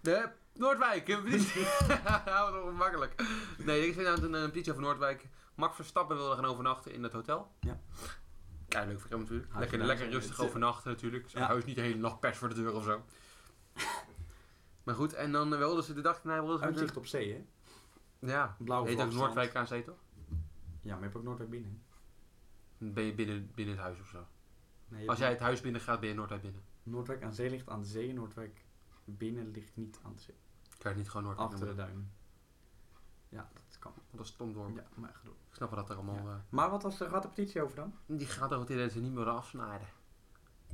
Speaker 4: De Noordwijk, een politie. Dat was ongemakkelijk. Nee, ik vind nou een, een politie over Noordwijk. Max Verstappen wilde gaan overnachten in dat hotel.
Speaker 1: Ja.
Speaker 4: Ja, leuk voor hem natuurlijk.
Speaker 1: Hij
Speaker 4: Lekker,
Speaker 1: is-
Speaker 4: lekker rustig overnachten natuurlijk. Zijn
Speaker 1: Ja.
Speaker 4: huis niet de hele nacht pers voor de deur of zo. maar goed, en dan eh, wilden ze de dag daarna... wilden ze met
Speaker 1: Uitzicht op zee, hè?
Speaker 4: een- Ja,
Speaker 1: Blauwe
Speaker 4: heet ook
Speaker 1: vlagstand.
Speaker 4: Noordwijk aan zee toch?
Speaker 1: Ja, maar je hebt ook Noordwijk binnen.
Speaker 4: Dan ben je binnen, binnen het huis of zo.
Speaker 1: Nee, je
Speaker 4: Als jij
Speaker 1: hebt
Speaker 4: het huis binnen gaat, ben je Noordwijk binnen.
Speaker 1: Noordwijk aan zee ligt aan de zee. Noordwijk binnen ligt niet aan de zee.
Speaker 4: Kan je niet gewoon Noordwijk
Speaker 1: Achter de
Speaker 4: noemen.
Speaker 1: duin. Ja, dat kan.
Speaker 4: Want Dat is stom door.
Speaker 1: Ja, maar echt door.
Speaker 4: Ik snap wel dat er allemaal... eh,
Speaker 1: Maar wat was, gaat de petitie over dan?
Speaker 4: Die gaat over het idee dat ze niet meer willen afsnijden.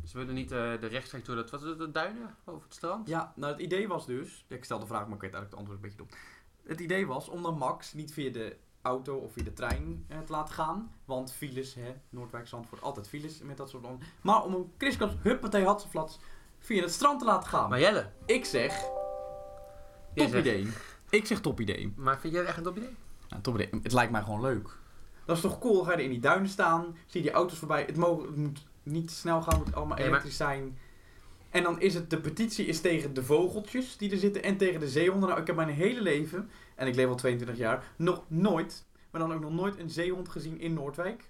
Speaker 4: Ze willen niet eh, de rechtstreeks door dat, wat is dat, de duinen over het strand?
Speaker 1: Ja, nou het idee was dus... Ik stel de vraag, maar ik weet eigenlijk het antwoord een beetje dom. Het idee was om dan Max niet via de auto of via de trein eh, te laten gaan. Want files, hè, Noordwijk, Zandvoort, altijd files met dat soort dingen. Maar om hem kriskast, huppatee, hatseflats, via het strand te laten gaan.
Speaker 4: Maar Jelle,
Speaker 1: ik zeg,
Speaker 4: jij
Speaker 1: top
Speaker 4: zegt-
Speaker 1: idee. Ik zeg top idee.
Speaker 4: maar vind jij het echt een top idee?
Speaker 1: Nou, toch, het lijkt mij gewoon leuk. Dat is toch cool? Ga je er in die duinen staan, zie je die auto's voorbij. Het, mo- het moet niet te snel gaan, het moet allemaal
Speaker 4: Nee, maar-
Speaker 1: elektrisch zijn. En dan is het, de petitie is tegen de vogeltjes die er zitten en tegen de zeehonden. Nou, ik heb mijn hele leven, en ik leef al 22 jaar, nog nooit, maar dan ook nog nooit een zeehond gezien in Noordwijk.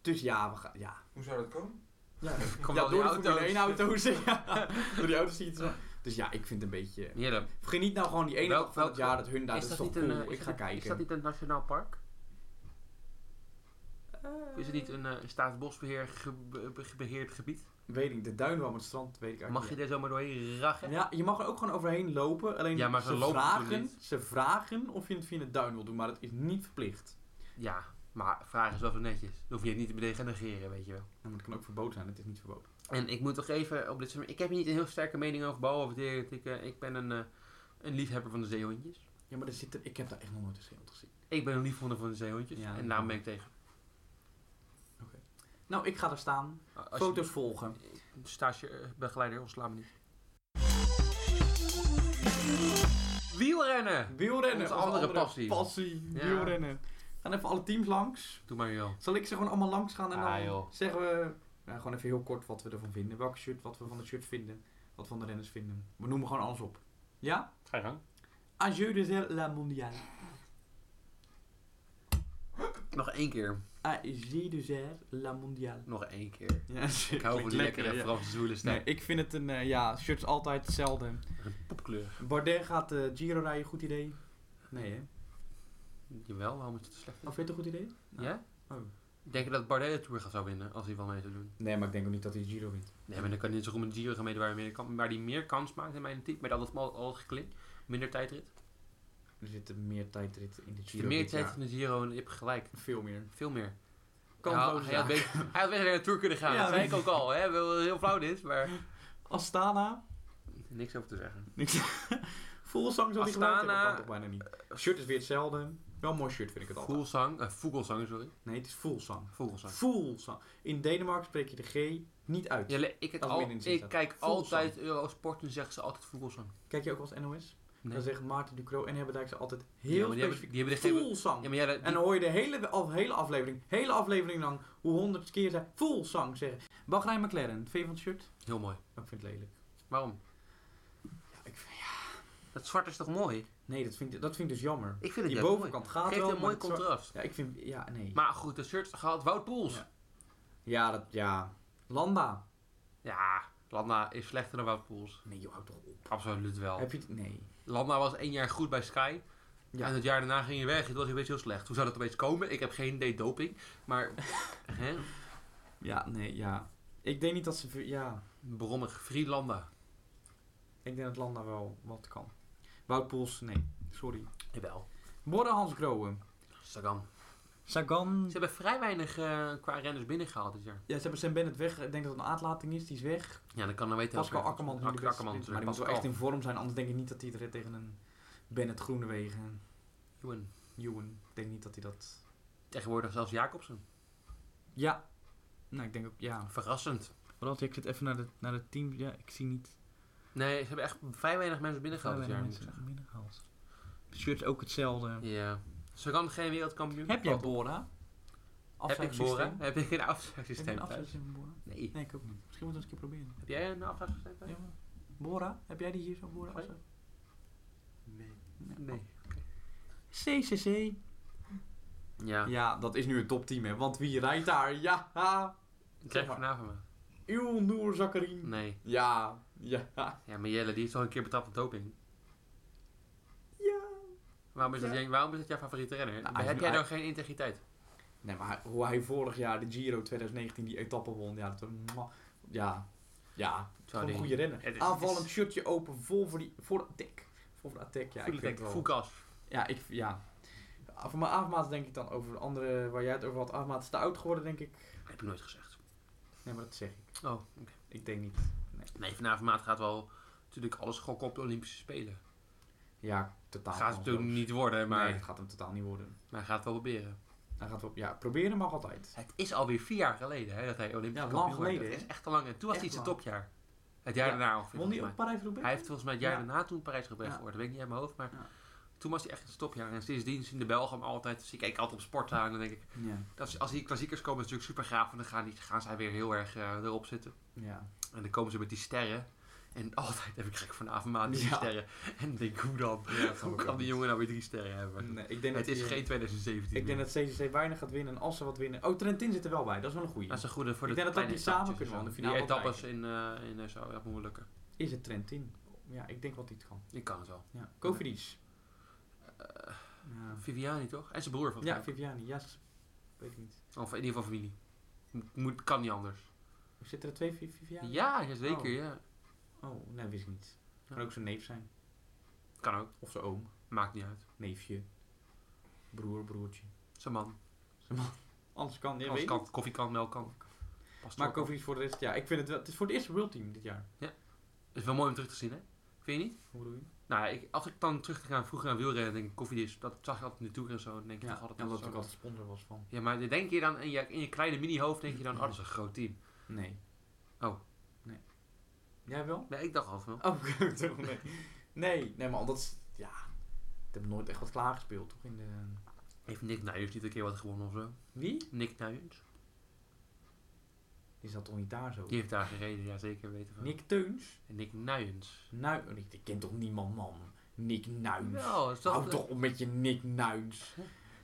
Speaker 1: Dus ja, we gaan, ja.
Speaker 3: Hoe zou dat komen?
Speaker 1: Ja,
Speaker 4: Kom
Speaker 1: ja
Speaker 4: wel die
Speaker 1: door de
Speaker 4: auto's.
Speaker 1: Formule 1 auto's. ja. door die auto's zie je het zo. Dus ja, ik vind het een beetje...
Speaker 4: Jelle,
Speaker 1: Geniet nou gewoon die ene
Speaker 4: Welk-
Speaker 1: dag van het
Speaker 4: welk-
Speaker 1: jaar dat hun daar,
Speaker 4: is
Speaker 1: dat is
Speaker 4: dat
Speaker 1: toch
Speaker 4: niet
Speaker 1: cool.
Speaker 4: een... eh,
Speaker 1: ik
Speaker 4: is
Speaker 1: ga
Speaker 4: dat-
Speaker 1: kijken.
Speaker 4: Is dat niet een nationaal park? Is het niet een eh, staatsbosbeheer ge- be- be- beheerd gebied?
Speaker 1: Weet ik, de duinen om het strand, weet ik eigenlijk
Speaker 4: Mag je daar zomaar doorheen rachen?
Speaker 1: niet. Ja, je mag er ook gewoon overheen lopen. Alleen
Speaker 4: Ja, maar ze
Speaker 1: ze,
Speaker 4: lopen dus
Speaker 1: vragen,
Speaker 4: niet.
Speaker 1: ze vragen of je het via de duin wil doen, maar dat is niet verplicht.
Speaker 4: Ja, Maar vraag is wel zo netjes. Dan hoef je het niet te bedegen- negeren, weet je wel.
Speaker 1: Ja, maar het kan ook verboden zijn, het is niet verboden.
Speaker 4: En ik moet toch even op dit soort... Ik heb hier niet een heel sterke mening over ballenvertering. Ik, eh, ik ben een, eh, een liefhebber van de zeehondjes.
Speaker 1: Ja, maar er zit er- ik heb daar echt nog nooit een zeehond gezien.
Speaker 4: Ik ben een liefhebber van de zeehondjes.
Speaker 1: Ja.
Speaker 4: en daarom ben ik tegen.
Speaker 1: Nou, ik ga er staan.
Speaker 4: Als je-
Speaker 1: Foto's volgen.
Speaker 4: stagebegeleider ontslaat me niet. Wielrennen!
Speaker 1: Wielrennen.
Speaker 4: Onze
Speaker 1: onze
Speaker 4: andere passie.
Speaker 1: passie.
Speaker 4: Ja.
Speaker 1: Wielrennen. Gaan even alle teams langs.
Speaker 4: Doe maar joh.
Speaker 1: Zal ik ze gewoon allemaal langs gaan en
Speaker 4: Ah,
Speaker 1: dan
Speaker 4: joh.
Speaker 1: zeggen we nou, gewoon even heel kort wat we ervan vinden. Welke shirt, wat we van de shirts vinden. Wat we van de renners vinden. We noemen gewoon alles op. Ja?
Speaker 4: Ga je gang.
Speaker 1: Adieu de la mondiale.
Speaker 4: Nog één keer.
Speaker 1: Ah, Adieu de la mondiale.
Speaker 4: Nog één keer.
Speaker 1: Ja,
Speaker 4: Ik hou van die lekkere
Speaker 1: ja.
Speaker 4: Franse zwoele stem.
Speaker 1: Nee, ik vind het een, eh, ja, shirts altijd hetzelfde.
Speaker 4: Een poepkleur.
Speaker 1: Bardet gaat eh, Giro rijden, goed idee. Nee, hè?
Speaker 4: Jawel, waarom is het zo slecht?
Speaker 1: Of vind je het een goed idee?
Speaker 4: Ja?
Speaker 1: Oh.
Speaker 4: Denk je dat Bardet de Tour gaat zou winnen als hij wel mee zou doen?
Speaker 1: Nee, maar ik denk ook niet dat hij Giro wint.
Speaker 4: Nee, maar dan kan hij zo goed met Giro gaan meedoen waar hij meer, kan- waar hij meer kans maakt in mijn type. Met al dat al, al dat geklim. Minder tijdrit.
Speaker 1: Er zit meer tijdrit in de Giro.
Speaker 4: Giro meer
Speaker 1: dit jaar.
Speaker 4: tijdrit in de Giro en je hebt gelijk.
Speaker 1: Veel meer.
Speaker 4: Veel meer.
Speaker 1: Kan
Speaker 4: Ja,
Speaker 1: gewoon
Speaker 4: hij, had
Speaker 1: zijn.
Speaker 4: beter, hij had beter naar de Tour kunnen gaan.
Speaker 1: Ja,
Speaker 4: dat zei
Speaker 1: weet
Speaker 4: ik ook al. Hè? Wel heel flauw dit, maar...
Speaker 1: Astana.
Speaker 4: Niks over te zeggen.
Speaker 1: Fuglsang zal die
Speaker 4: Astana.
Speaker 1: gebruiken, dat kan toch bijna niet. Shirt is weer hetzelfde. Wel een mooi shirt vind ik het altijd.
Speaker 4: Voelsang. eh Vogelsang, sorry.
Speaker 1: Nee, het is Fuglsang.
Speaker 4: Vogelsang.
Speaker 1: Fuglsang. In Denemarken spreek je de G niet uit.
Speaker 4: Ja, le- ik, kijk
Speaker 1: Als
Speaker 4: al-
Speaker 1: het midden in
Speaker 4: ik
Speaker 1: zit,
Speaker 4: kijk
Speaker 1: Vogelsang.
Speaker 4: altijd Eurosport en zeggen ze altijd Vogelsang.
Speaker 1: Kijk je ook als NOS?
Speaker 4: Nee.
Speaker 1: Dan zeggen Maarten Ducro en Hebbendijk ze altijd
Speaker 4: Ja,
Speaker 1: heel
Speaker 4: maar die hebben,
Speaker 1: specifiek
Speaker 4: die hebben de gegeven-
Speaker 1: Fuglsang.
Speaker 4: Ja, maar ja, dat-
Speaker 1: En dan hoor je de hele, af- hele aflevering, hele aflevering lang, hoe honderd keer zij Fuglsang zeggen. Bahrein McLaren, vind je van het shirt?
Speaker 4: Heel mooi.
Speaker 1: Oh, ik vind het lelijk.
Speaker 4: Waarom?
Speaker 1: Ja, ik vind-
Speaker 4: Dat zwart is toch mooi?
Speaker 1: Nee, dat vind, ik- dat vind ik dus jammer.
Speaker 4: Ik vind het
Speaker 1: Die
Speaker 4: juist
Speaker 1: bovenkant
Speaker 4: mooi.
Speaker 1: gaat
Speaker 4: Geeft
Speaker 1: wel,
Speaker 4: een mooi
Speaker 1: maar het zwart-
Speaker 4: contrast.
Speaker 1: Ja, ik vind... Ja, nee.
Speaker 4: Maar goed, de shirt gehaald. Wout Poels.
Speaker 1: Ja.
Speaker 4: Ja.
Speaker 1: Ja, dat... Ja. Landa.
Speaker 4: Landa is slechter dan Wout Poels.
Speaker 1: Nee, joh, hou toch op.
Speaker 4: Absoluut wel.
Speaker 1: Heb je... het- Nee.
Speaker 4: Landa was één jaar goed bij Sky.
Speaker 1: Ja.
Speaker 4: En het jaar daarna ging hij weg. Het was hij opeens heel slecht. Hoe zou dat opeens komen? Ik heb geen idee doping. Maar, hè?
Speaker 1: Ja, nee, ja. Ik denk niet dat ze... ver- Ja.
Speaker 4: Brommig. Free Landa.
Speaker 1: Ik denk dat Landa wel wat kan. Wout Poels, nee. Sorry.
Speaker 4: Jawel.
Speaker 1: Borre Hans Groen.
Speaker 4: Sagan.
Speaker 1: Sagan.
Speaker 4: Ze hebben vrij weinig eh, qua renners binnengehaald dit jaar.
Speaker 1: Ja, ze hebben Sam Bennett weg. Ik denk dat het een aatlating is. Die is weg.
Speaker 4: Ja, dan kan dan weten...
Speaker 1: Pascal
Speaker 4: elke-
Speaker 1: Akkerman. is nu
Speaker 4: Ak-
Speaker 1: de beste
Speaker 4: Akkerman.
Speaker 1: sprinter, Maar die moet wel echt in vorm zijn. Anders denk ik niet dat hij het redt tegen een Bennett Groenewegen.
Speaker 4: Ewan.
Speaker 1: Ewan. Ik denk niet dat hij dat...
Speaker 4: Tegenwoordig zelfs Jacobsen.
Speaker 1: Ja. Nou, ik denk ook... Ja.
Speaker 4: Verrassend.
Speaker 1: Wat ik zit even naar het naar de team. Ja, ik zie niet...
Speaker 4: Nee, ze hebben echt vrij weinig mensen binnengehaald dit jaar. moet ik zeggen.
Speaker 1: binnengehaald. De shirt ook hetzelfde.
Speaker 4: Ja. Sagan geen wereldkampioen.
Speaker 1: Heb jij
Speaker 4: Oh,
Speaker 1: Bora?
Speaker 4: Heb ik
Speaker 1: Afzuigsysteem?
Speaker 4: Bora? Heb ik een
Speaker 1: Heb je een
Speaker 4: afzuigsysteem thuis?
Speaker 1: afzuigsysteem van Bora?
Speaker 4: Nee.
Speaker 1: Nee, ik ook niet. Misschien moeten we het eens een keer proberen.
Speaker 4: Heb jij een afzuigsysteem thuis?
Speaker 1: Ja, maar- Bora? Heb jij die hier zo, Bora?
Speaker 4: Sorry?
Speaker 1: Afzuig-
Speaker 4: Nee.
Speaker 1: Nee. Oh.
Speaker 4: Nee.
Speaker 1: CCC.
Speaker 4: Ja.
Speaker 1: Ja, dat is nu een topteam, hè. Want wie rijdt daar? Ja, ha.
Speaker 4: Ik krijg
Speaker 1: maar.
Speaker 4: vanavond maar.
Speaker 1: Uw Noor Zakarin.
Speaker 4: Nee.
Speaker 1: Ja, ja,
Speaker 4: Ja, maar Jelle, die is al een keer betrapt op doping.
Speaker 1: ja.
Speaker 4: Waarom is, dat,
Speaker 1: Ja.
Speaker 4: jij- waarom is dat jouw favoriete renner?
Speaker 1: Nou, hij is
Speaker 4: heb
Speaker 1: nu
Speaker 4: jij
Speaker 1: ei-
Speaker 4: nou geen integriteit?
Speaker 1: Nee, maar hij- hoe hij vorig jaar de Giro 2019 die etappe won. Ja, dat... mwah. Ja, ja.
Speaker 4: Zou
Speaker 1: Gewoon
Speaker 4: die-
Speaker 1: een goede renner.
Speaker 4: Het is- het
Speaker 1: Aanvallend
Speaker 4: is-
Speaker 1: shirtje open, vol voor, die, voor de attack. Vol voor de attack, ja. ik
Speaker 4: Voel ik
Speaker 1: vind
Speaker 4: denk
Speaker 1: het wel-
Speaker 4: Foucault.
Speaker 1: Ja, ik, ja. Voor mijn afmaat denk ik dan over de andere waar jij het over had. Afmaat is te oud geworden, denk ik.
Speaker 4: Heb ik nooit gezegd.
Speaker 1: Nee, maar dat zeg ik.
Speaker 4: Oh, oké.
Speaker 1: Ik denk niet.
Speaker 4: Nee, vanavond maat gaat wel natuurlijk alles gokken op de Olympische Spelen.
Speaker 1: Ja, totaal.
Speaker 4: gaat het natuurlijk
Speaker 1: kansloos.
Speaker 4: niet worden, maar,
Speaker 1: Nee, het gaat hem totaal niet worden.
Speaker 4: maar hij gaat het wel proberen.
Speaker 1: Dan gaat we, ja, proberen mag altijd.
Speaker 4: Het is alweer vier jaar geleden hè, dat hij Olympisch
Speaker 1: Ja, lang
Speaker 4: kampioen werd.
Speaker 1: geleden,
Speaker 4: Dat
Speaker 1: hè?
Speaker 4: is echt al lang. En toen was hij
Speaker 1: Echt
Speaker 4: zijn
Speaker 1: lang.
Speaker 4: topjaar. Het jaar
Speaker 1: Ja.
Speaker 4: daarna ongeveer.
Speaker 1: Won die
Speaker 4: volgens
Speaker 1: op
Speaker 4: mij.
Speaker 1: Parijs-Roubaix?
Speaker 4: Hij heeft volgens mij het jaar
Speaker 1: Ja.
Speaker 4: daarna toen Parijs-Roubaix
Speaker 1: Ja.
Speaker 4: geworden. Dat weet ik niet uit mijn hoofd, maar
Speaker 1: Ja.
Speaker 4: toen was hij echt een topjaar. En sindsdien zien de Belgen hem altijd. Dus ik kijk altijd op sport aan en dan denk ik,
Speaker 1: Ja.
Speaker 4: dat is- als die klassiekers komen is het natuurlijk super gaaf. En dan gaan, die, gaan zij weer heel erg eh, erop zitten.
Speaker 1: ja.
Speaker 4: En dan komen ze met die sterren. En altijd heb ik gek vanavond maand drie
Speaker 1: Ja.
Speaker 4: sterren. En ik denk, hoe dan?
Speaker 1: snap ik
Speaker 4: hoe
Speaker 1: ook
Speaker 4: kan die
Speaker 1: niet.
Speaker 4: jongen nou weer drie sterren hebben?
Speaker 1: Nee, ik denk
Speaker 4: het
Speaker 1: dat
Speaker 4: is
Speaker 1: die-
Speaker 4: geen 2017
Speaker 1: Ik
Speaker 4: meer.
Speaker 1: denk dat CCC weinig gaat winnen en als ze wat winnen. Oh, Trentin zit er wel bij, dat is wel een goeie.
Speaker 4: dat is een goede voor
Speaker 1: Ik
Speaker 4: de
Speaker 1: denk dat dat
Speaker 4: kleine
Speaker 1: die samen
Speaker 4: etapetjes
Speaker 1: kunnen,
Speaker 4: en
Speaker 1: want
Speaker 4: zo.
Speaker 1: de
Speaker 4: Die
Speaker 1: finale
Speaker 4: etappes in, eh in eh, zou dat moet lukken.
Speaker 1: Is het Trentin? Ja, ik denk wel dat hij het kan.
Speaker 4: Ik kan het wel.
Speaker 1: Ja. Covidis.
Speaker 4: Eh,
Speaker 1: Ja.
Speaker 4: Viviani toch? En zijn broer van
Speaker 1: Ja, Viviani, ja, ze- weet ik niet.
Speaker 4: Of in ieder geval familie. Moet- Moet, kan niet anders.
Speaker 1: Zitten er twee Vi-
Speaker 4: Ja,
Speaker 1: Viviani?
Speaker 4: ja, zeker.
Speaker 1: Oh.
Speaker 4: Ja.
Speaker 1: Oh, nee, wist ik niet.
Speaker 4: Ja.
Speaker 1: Kan ook zijn neef zijn.
Speaker 4: Kan ook.
Speaker 1: Of zijn oom,
Speaker 4: Maakt niet uit.
Speaker 1: neefje, broer, broertje.
Speaker 4: Zijn man.
Speaker 1: Anders kan, ja,
Speaker 4: Alles
Speaker 1: weet ik
Speaker 4: kan,
Speaker 1: niet.
Speaker 4: koffie kan, melk kan. Past
Speaker 1: Maar
Speaker 4: ook wel.
Speaker 1: Kovic voor de rest, ja, ik vind het wel. Het is voor het eerste World Team dit jaar.
Speaker 4: is wel mooi om terug te zien, hè? Vind je niet?
Speaker 1: Hoe bedoel je?
Speaker 4: Nou, ja, ik, als ik dan terug ga vroeger naar wielrennen, denk ik, koffie is, dat zag je altijd in de tour en zo. Dan denk je
Speaker 1: Ja,
Speaker 4: toch altijd,
Speaker 1: omdat
Speaker 4: dat
Speaker 1: ik
Speaker 4: is
Speaker 1: ook
Speaker 4: ook-
Speaker 1: altijd sponsor was van.
Speaker 4: Ja, maar dan denk je dan, in je, in je kleine mini-hoofd denk je dan, oh, dat is een groot team.
Speaker 1: Nee.
Speaker 4: Oh.
Speaker 1: Nee. Jij wel?
Speaker 4: Nee, ik dacht altijd wel.
Speaker 1: Oh, ik dacht, nee. Nee, nee, maar dat is, ja. Ik heb nooit echt wat klaargespeeld, toch? In de...
Speaker 4: Heeft Nick Nuyens niet een keer wat gewonnen of zo?
Speaker 1: Wie?
Speaker 4: Nick Nuyens?
Speaker 1: Die zat toch niet daar zo?
Speaker 4: Die heeft daar gereden, ja zeker weten van.
Speaker 1: Nick Teuns?
Speaker 4: En Nick Nuyens.
Speaker 1: Nou, ik ik ken toch niemand, man? Nick Nuins.
Speaker 4: Wel, is dat-
Speaker 1: Hou toch op met je Nick Nuins.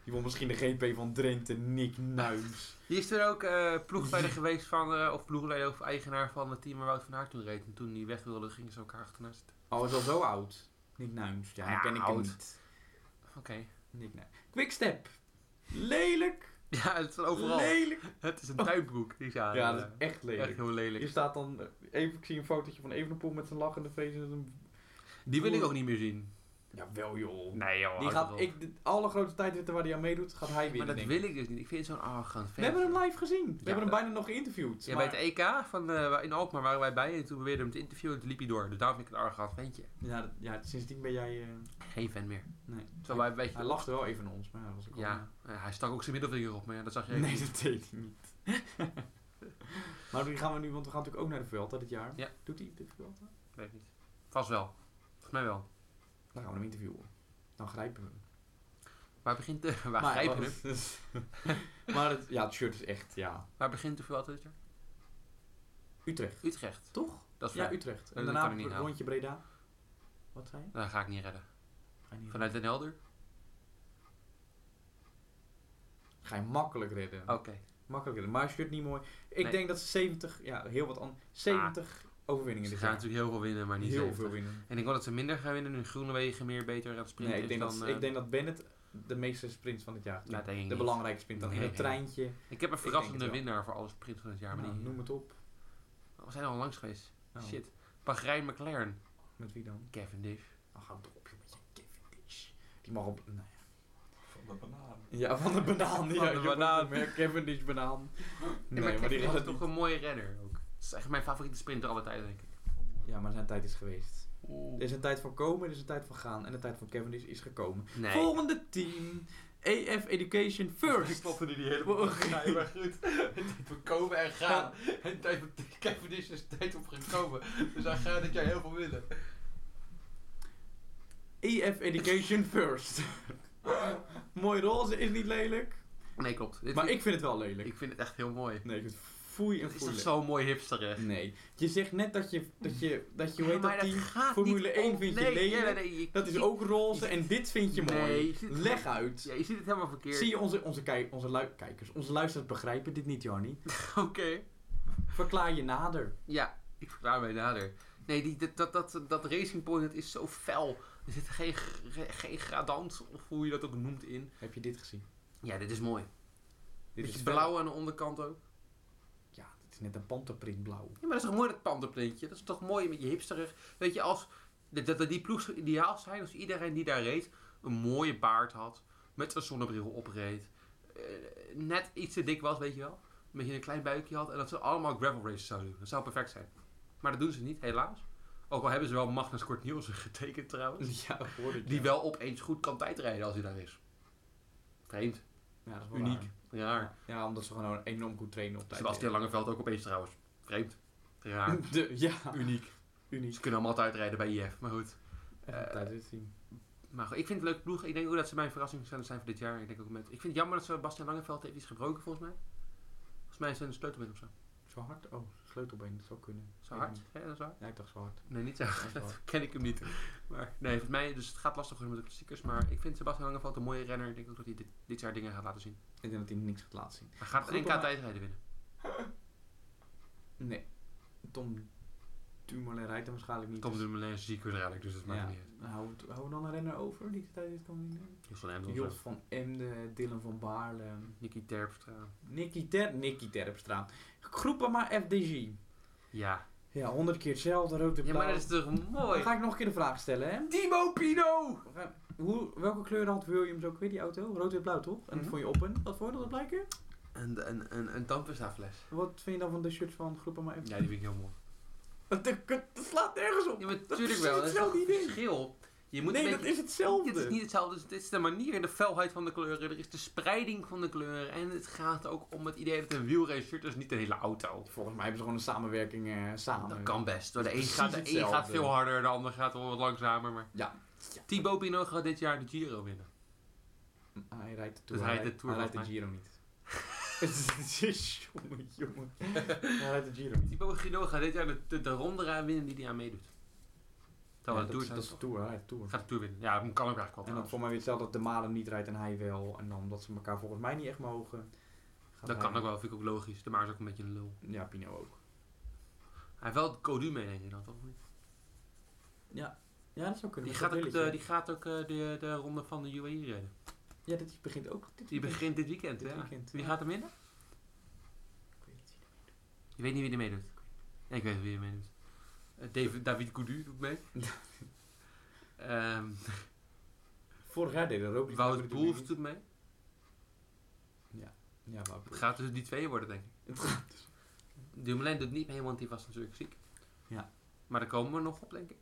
Speaker 1: Die won misschien de GP van Drenthe, Nick Nuins.
Speaker 4: Die is er ook eh ploegleider geweest van, eh, of ploegleider of eigenaar van het team waar Wout van Aert toen reed. En toen die weg wilde, gingen ze elkaar achterna zitten.
Speaker 1: Oh, is al zo oud. Nick Nuins, ja,
Speaker 4: Ja,
Speaker 1: dan ken ik hem
Speaker 4: oud.
Speaker 1: niet.
Speaker 4: Oké.
Speaker 1: Nick Nuins. Quickstep. Lelijk.
Speaker 4: Ja, het is overal.
Speaker 1: Lelijk.
Speaker 4: Het is een tuinbroek. Die is aan,
Speaker 1: Ja,
Speaker 4: eh,
Speaker 1: dat is echt lelijk.
Speaker 4: echt heel
Speaker 1: Hier
Speaker 4: lelijk.
Speaker 1: staat dan, eh, even, ik zie een fotootje van Evenepoel met zijn lachende face. en zijn-
Speaker 4: Die wil ik ook niet meer zien.
Speaker 1: Jawel joh.
Speaker 4: Nee joh,
Speaker 1: Die
Speaker 4: houd
Speaker 1: gaat,
Speaker 4: toch op.
Speaker 1: ik, de, alle grote tijdritten waar hij aan meedoet, gaat hij
Speaker 4: Maar
Speaker 1: winnen.
Speaker 4: dat
Speaker 1: denk ik.
Speaker 4: wil ik dus niet. Ik vind het zo'n arrogant
Speaker 1: We
Speaker 4: vent.
Speaker 1: hebben hem live gezien. We hebben hem
Speaker 4: dat-
Speaker 1: bijna nog geïnterviewd.
Speaker 4: Ja,
Speaker 1: maar-
Speaker 4: bij het EK van, eh, waar- in Alkmaar waren wij bij en toen beweerden hem te interviewen en toen liep hij door. Dus daarom vind ik het een arrogant ventje.
Speaker 1: ja, dat- ja, sindsdien ben jij... eh,
Speaker 4: Geen fan meer.
Speaker 1: nee.
Speaker 4: Terwijl wij een beetje...
Speaker 1: Hij lachte wel even naar ons, maar ja, dat was ik
Speaker 4: Ja, eh, hij stak ook zijn middelvinger op, maar ja, dat zag je
Speaker 1: al...
Speaker 4: even
Speaker 1: Nee,
Speaker 4: niet.
Speaker 1: dat deed hij niet. maar die gaan we nu, want we gaan natuurlijk ook naar de Vuelta dit jaar.
Speaker 4: Ja.
Speaker 1: Doet hij de Vuelta?
Speaker 4: Weet ik niet. Vast wel. Volgens mij wel.
Speaker 1: Dan gaan we hem interviewen. Dan grijpen we hem.
Speaker 4: Waar begint de... Waar
Speaker 1: Maar-
Speaker 4: grijpen we?
Speaker 1: maar het, ja, het shirt is echt, ja...
Speaker 4: Waar begint de Vuelta dit jaar?
Speaker 1: Utrecht.
Speaker 4: Utrecht.
Speaker 1: Toch?
Speaker 4: Dat is
Speaker 1: Ja,
Speaker 4: vrij.
Speaker 1: Utrecht. En
Speaker 4: dat
Speaker 1: daarna
Speaker 4: kan ik niet
Speaker 1: een
Speaker 4: halen.
Speaker 1: rondje Breda. Wat zei je?
Speaker 4: Dat ga ik niet redden.
Speaker 1: Ga je, niet-
Speaker 4: Vanuit Den Helder?
Speaker 1: Ga je makkelijk redden.
Speaker 4: Oké.
Speaker 1: Makkelijk redden. Maar je shirt niet mooi. Ik
Speaker 4: Nee. Ah.
Speaker 1: denk dat ze 70, ja, heel wat anders. 70 overwinningen
Speaker 4: Ze
Speaker 1: dit
Speaker 4: gaan
Speaker 1: jaar.
Speaker 4: natuurlijk heel veel winnen, maar niet
Speaker 1: heel
Speaker 4: 70.
Speaker 1: veel winnen.
Speaker 4: En ik wil dat ze minder gaan winnen, nu Groenewegen meer beter aan het sprinten
Speaker 1: Nee, ik denk,
Speaker 4: is
Speaker 1: dat,
Speaker 4: dan... eh,
Speaker 1: ik denk dat Bennett de meeste sprints van het jaar gaat
Speaker 4: Ja,
Speaker 1: doen.
Speaker 4: denk ik
Speaker 1: De
Speaker 4: niet.
Speaker 1: belangrijkste sprint dan.
Speaker 4: Nee,
Speaker 1: in het
Speaker 4: nee.
Speaker 1: treintje.
Speaker 4: Ik heb een
Speaker 1: ik denk
Speaker 4: verrassende
Speaker 1: het wel.
Speaker 4: winnaar voor alle sprints van het jaar, maar
Speaker 1: Nou,
Speaker 4: die...
Speaker 1: noem het op.
Speaker 4: We zijn al langs geweest.
Speaker 1: Nou,
Speaker 4: Shit. Bahrein McLaren.
Speaker 1: Met wie dan?
Speaker 4: Cavendish.
Speaker 1: Nou, hou toch op je met je Cavendish. Die mag op... Nou ja.
Speaker 3: Van de banaan.
Speaker 1: ja, van de banaan.
Speaker 4: Van de
Speaker 1: ja,
Speaker 4: banaan.
Speaker 1: Cavendish banaan.
Speaker 4: Nee,
Speaker 1: Nee,
Speaker 4: maar,
Speaker 1: maar die
Speaker 4: Cavendish
Speaker 1: gaat
Speaker 4: is toch een mooie renner ook. Dat is echt mijn favoriete sprinter alle tijden, denk ik.
Speaker 1: Ja, maar zijn tijd is geweest.
Speaker 4: Oeh.
Speaker 1: Er is een tijd van komen, er is een tijd van gaan. En de tijd van Cavendish is gekomen.
Speaker 4: Nee.
Speaker 1: Volgende team. EF Education
Speaker 4: Ik
Speaker 1: First.
Speaker 4: klopte nu die hele bocht. Nee, maar goed. Het we komen en gaan. En tijd op Cavendish is tijd op gekomen. Dus hij gaat dit jaar heel veel winnen.
Speaker 1: EF Education First. Mooi roze is niet lelijk.
Speaker 4: Nee, klopt. Dit
Speaker 1: Maar
Speaker 4: vind-
Speaker 1: ik vind het wel lelijk.
Speaker 4: ik vind het echt heel mooi.
Speaker 1: Nee, ik vind het foei en
Speaker 4: Het is toch
Speaker 1: foei.
Speaker 4: zo mooi hipsterig.
Speaker 1: Nee. Je zegt net dat je, dat je, dat je hoe
Speaker 4: Ja,
Speaker 1: heet
Speaker 4: maar
Speaker 1: dat team?
Speaker 4: gaat
Speaker 1: Formule
Speaker 4: niet
Speaker 1: 1
Speaker 4: om-
Speaker 1: vind je
Speaker 4: nee,
Speaker 1: lelijk.
Speaker 4: ja, nee, je-
Speaker 1: Dat is
Speaker 4: je-
Speaker 1: ook roze en dit vind je
Speaker 4: Nee,
Speaker 1: mooi.
Speaker 4: je ziet het-
Speaker 1: Leg uit.
Speaker 4: Ja, je ziet het helemaal verkeerd.
Speaker 1: Zie je onze, onze, kijk, onze lui- kijkers, onze luisteraars begrijpen dit niet, Jarny.
Speaker 4: Oké.
Speaker 1: Verklaar je nader.
Speaker 4: Ja, ik verklaar mij nader. Nee, die, dat, dat, dat, dat Racing Point dat is zo fel. Er zit geen, gr- geen gradant, of hoe je dat ook noemt, in.
Speaker 1: Heb je dit gezien?
Speaker 4: Ja, dit is mooi.
Speaker 1: Dit
Speaker 4: Beetje
Speaker 1: wel-
Speaker 4: blauw aan de onderkant ook.
Speaker 1: Ja, dit is net een panterprint blauw.
Speaker 4: Ja, maar dat is toch mooi dat pandenplintje? Dat is toch mooi met je hipsterig. Weet je, als dat, dat dat die ploeg zo ideaal zijn als iedereen die daar reed een mooie baard had, met een zonnebril opreed, eh, net iets te dik was, weet je wel. Een beetje een klein buikje had en dat ze allemaal gravel races zouden doen. Dat zou perfect zijn. Maar dat doen ze niet, helaas. Ook al hebben ze wel Magnus Kort Nielsen getekend trouwens.
Speaker 1: Ja, ik hoorde het.
Speaker 4: Die
Speaker 1: ja.
Speaker 4: wel opeens goed kan tijdrijden als hij daar is. Vreemd.
Speaker 1: Ja, dat is wel
Speaker 4: Uniek.
Speaker 1: raar.
Speaker 4: Raar.
Speaker 1: Ja, omdat ze gewoon enorm goed trainen op tijd.
Speaker 4: Sebastian Langeveld ook opeens trouwens. Vreemd. Raar.
Speaker 1: De, ja,
Speaker 4: Uniek.
Speaker 1: uniek.
Speaker 4: Ze kunnen allemaal tijdrijden bij IF, maar goed.
Speaker 1: Echt een tijdritteam.
Speaker 4: Maar goed, ik vind het een leuke ploeg. Ik denk ook dat ze mijn verrassing zullen zijn voor dit jaar. Ik, denk ook met... ik vind het jammer dat Sebastian Langeveld heeft iets gebroken, volgens mij. Volgens mij is het een sleutelbeen of zo.
Speaker 1: Zo hard? Oh, sleutelbeen, dat zou kunnen.
Speaker 4: Zo
Speaker 1: Ik
Speaker 4: hard?
Speaker 1: weet
Speaker 4: Ja, dat is waar.
Speaker 1: niet. Ja, ik dacht zo hard.
Speaker 4: Nee, niet zo
Speaker 1: Dat is wel-
Speaker 4: hard. ken ik hem niet. Maar nee, volgens mij, dus het gaat lastig worden met de klassiekers. Maar ik vind Sebastian Langeveld een mooie renner. Ik denk ook dat hij dit, dit jaar dingen gaat laten zien.
Speaker 1: Ik denk dat hij niks gaat laten zien.
Speaker 4: Hij gaat
Speaker 1: Goed,
Speaker 4: een NK
Speaker 1: maar-
Speaker 4: tijdrijden winnen.
Speaker 1: Nee. Tom Dumoulin rijdt hem waarschijnlijk niet.
Speaker 4: Tom
Speaker 1: dus-
Speaker 4: Dumoulin is ziek waarschijnlijk, dus dat maakt
Speaker 1: ja.
Speaker 4: niet uit.
Speaker 1: Hou, hou dan een renner over die tijdrit kan winnen?
Speaker 4: Jos van Emden of
Speaker 1: Jos
Speaker 4: zo.
Speaker 1: van Emden, Dylan van Baarle,
Speaker 4: Nicky eh, Terpstra.
Speaker 1: Nicky, Ter Nicky Terpstra. Groepen maar FDG.
Speaker 4: Ja.
Speaker 1: Ja, honderd keer hetzelfde, rood en
Speaker 4: Ja,
Speaker 1: blauw.
Speaker 4: maar dat is toch
Speaker 1: Dan
Speaker 4: mooi?
Speaker 1: ga ik nog een keer de vraag stellen, hè?
Speaker 4: Timo Pino!
Speaker 1: We gaan- hoe, welke kleuren had Williams ook weer die auto? Rood, wit, blauw toch? En dat
Speaker 4: Mhm.
Speaker 1: vond je op en wat vond je dat blijken?
Speaker 4: Een, een, een, een tandpastafles.
Speaker 1: Wat vind je dan van de shirts van Groep maar even?
Speaker 4: Ja, die vind ik heel mooi.
Speaker 1: Dat, dat, dat slaat nergens op.
Speaker 4: Ja, maar
Speaker 1: Dat
Speaker 4: natuurlijk
Speaker 1: is
Speaker 4: wel. Dat is
Speaker 1: hetzelfde
Speaker 4: toch
Speaker 1: idee.
Speaker 4: verschil. Je moet
Speaker 1: nee,
Speaker 4: een
Speaker 1: dat
Speaker 4: beetje-
Speaker 1: is hetzelfde.
Speaker 4: Dit is niet hetzelfde. Dus dit is de manier, de felheid van de kleuren. Er is de spreiding van de kleuren. En het gaat ook om het idee dat een wielrace shirt is niet de hele auto.
Speaker 1: Volgens mij hebben ze gewoon een samenwerking eh, samen.
Speaker 4: Dat kan best. De een,
Speaker 1: Precies
Speaker 4: gaat, de een gaat
Speaker 1: hetzelfde.
Speaker 4: veel harder, de ander gaat wel wat langzamer. Maar...
Speaker 1: Ja.
Speaker 4: Thibaut Pinot gaat dit jaar de Giro winnen.
Speaker 1: Hij rijdt de
Speaker 4: Dus
Speaker 1: Tour.
Speaker 4: hij rijdt de Tour,
Speaker 1: hij rijdt de
Speaker 4: volgens
Speaker 1: Giro niet. jongen, jongen. Hij rijdt de Giro niet.
Speaker 4: Thibaut Pinot gaat dit jaar de, de, de ronde rij winnen die hij aan meedoet.
Speaker 1: Ja, dat,
Speaker 4: Terwijl de Tour
Speaker 1: is- dat is de Tour, hij rijdt de Tour.
Speaker 4: Gaat de Tour winnen. Ja, dat kan ook eigenlijk wel.
Speaker 1: En dan
Speaker 4: trouwens.
Speaker 1: voor mij weer hetzelfde dat de Malen niet rijdt en hij wel. En dan dat ze elkaar volgens mij niet echt mogen. Gaat
Speaker 4: Dat
Speaker 1: hij-
Speaker 4: kan ook wel, vind ik ook logisch. De Maars is ook een beetje een lul.
Speaker 1: Ja, Pino ook.
Speaker 4: Hij heeft wel het Codu mee, denk ik dan, toch?
Speaker 1: Ja, dat zou kunnen.
Speaker 4: Die
Speaker 1: met
Speaker 4: gaat
Speaker 1: dat
Speaker 4: ook, de,
Speaker 1: brilletje.
Speaker 4: die gaat ook eh, de, de ronde van de UAE rijden.
Speaker 1: Ja, dit begint ook. Dit
Speaker 4: Die begint dit weekend,
Speaker 1: Dit
Speaker 4: ja.
Speaker 1: weekend,
Speaker 4: Wie
Speaker 1: ja.
Speaker 4: gaat er winnen?
Speaker 1: Ik weet het niet.
Speaker 4: Je weet niet wie er meedoet. Ja, ik weet wie er meedoet. Eh, David, David Coudu doet mee. Ehm
Speaker 1: Vorig jaar deed er ook iets.
Speaker 4: Wout
Speaker 1: Toen
Speaker 4: Boels
Speaker 1: niet.
Speaker 4: doet mee.
Speaker 1: Ja, Wout
Speaker 4: Het
Speaker 1: Poels.
Speaker 4: gaat tussen die twee worden, denk ik.
Speaker 1: Het gaat dus.
Speaker 4: Dumoulin doet niet mee, want die was natuurlijk ziek.
Speaker 1: Ja.
Speaker 4: Maar daar komen we nog op, denk ik.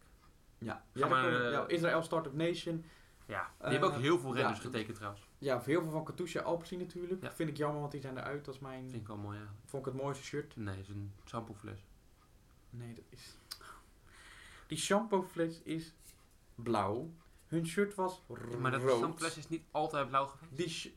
Speaker 1: Ja, ja,
Speaker 4: maar,
Speaker 1: daar komen-
Speaker 4: eh,
Speaker 1: ja, Israël Startup Nation.
Speaker 4: Ja, die
Speaker 1: Eh,
Speaker 4: hebben ook heel veel
Speaker 1: ja.
Speaker 4: renners getekend trouwens.
Speaker 1: Ja, heel veel van Katusha Alpsi natuurlijk.
Speaker 4: Ja.
Speaker 1: Vind ik jammer, want die zijn eruit. Dat is mijn...
Speaker 4: Vind ik wel mooi eigenlijk.
Speaker 1: Vond ik het mooiste shirt.
Speaker 4: Nee, het is een shampoofles.
Speaker 1: Nee, dat is... Die shampoofles is blauw. Hun shirt was rood.
Speaker 4: Maar dat shampoofles is niet altijd blauw geweest.
Speaker 1: Die, sh- die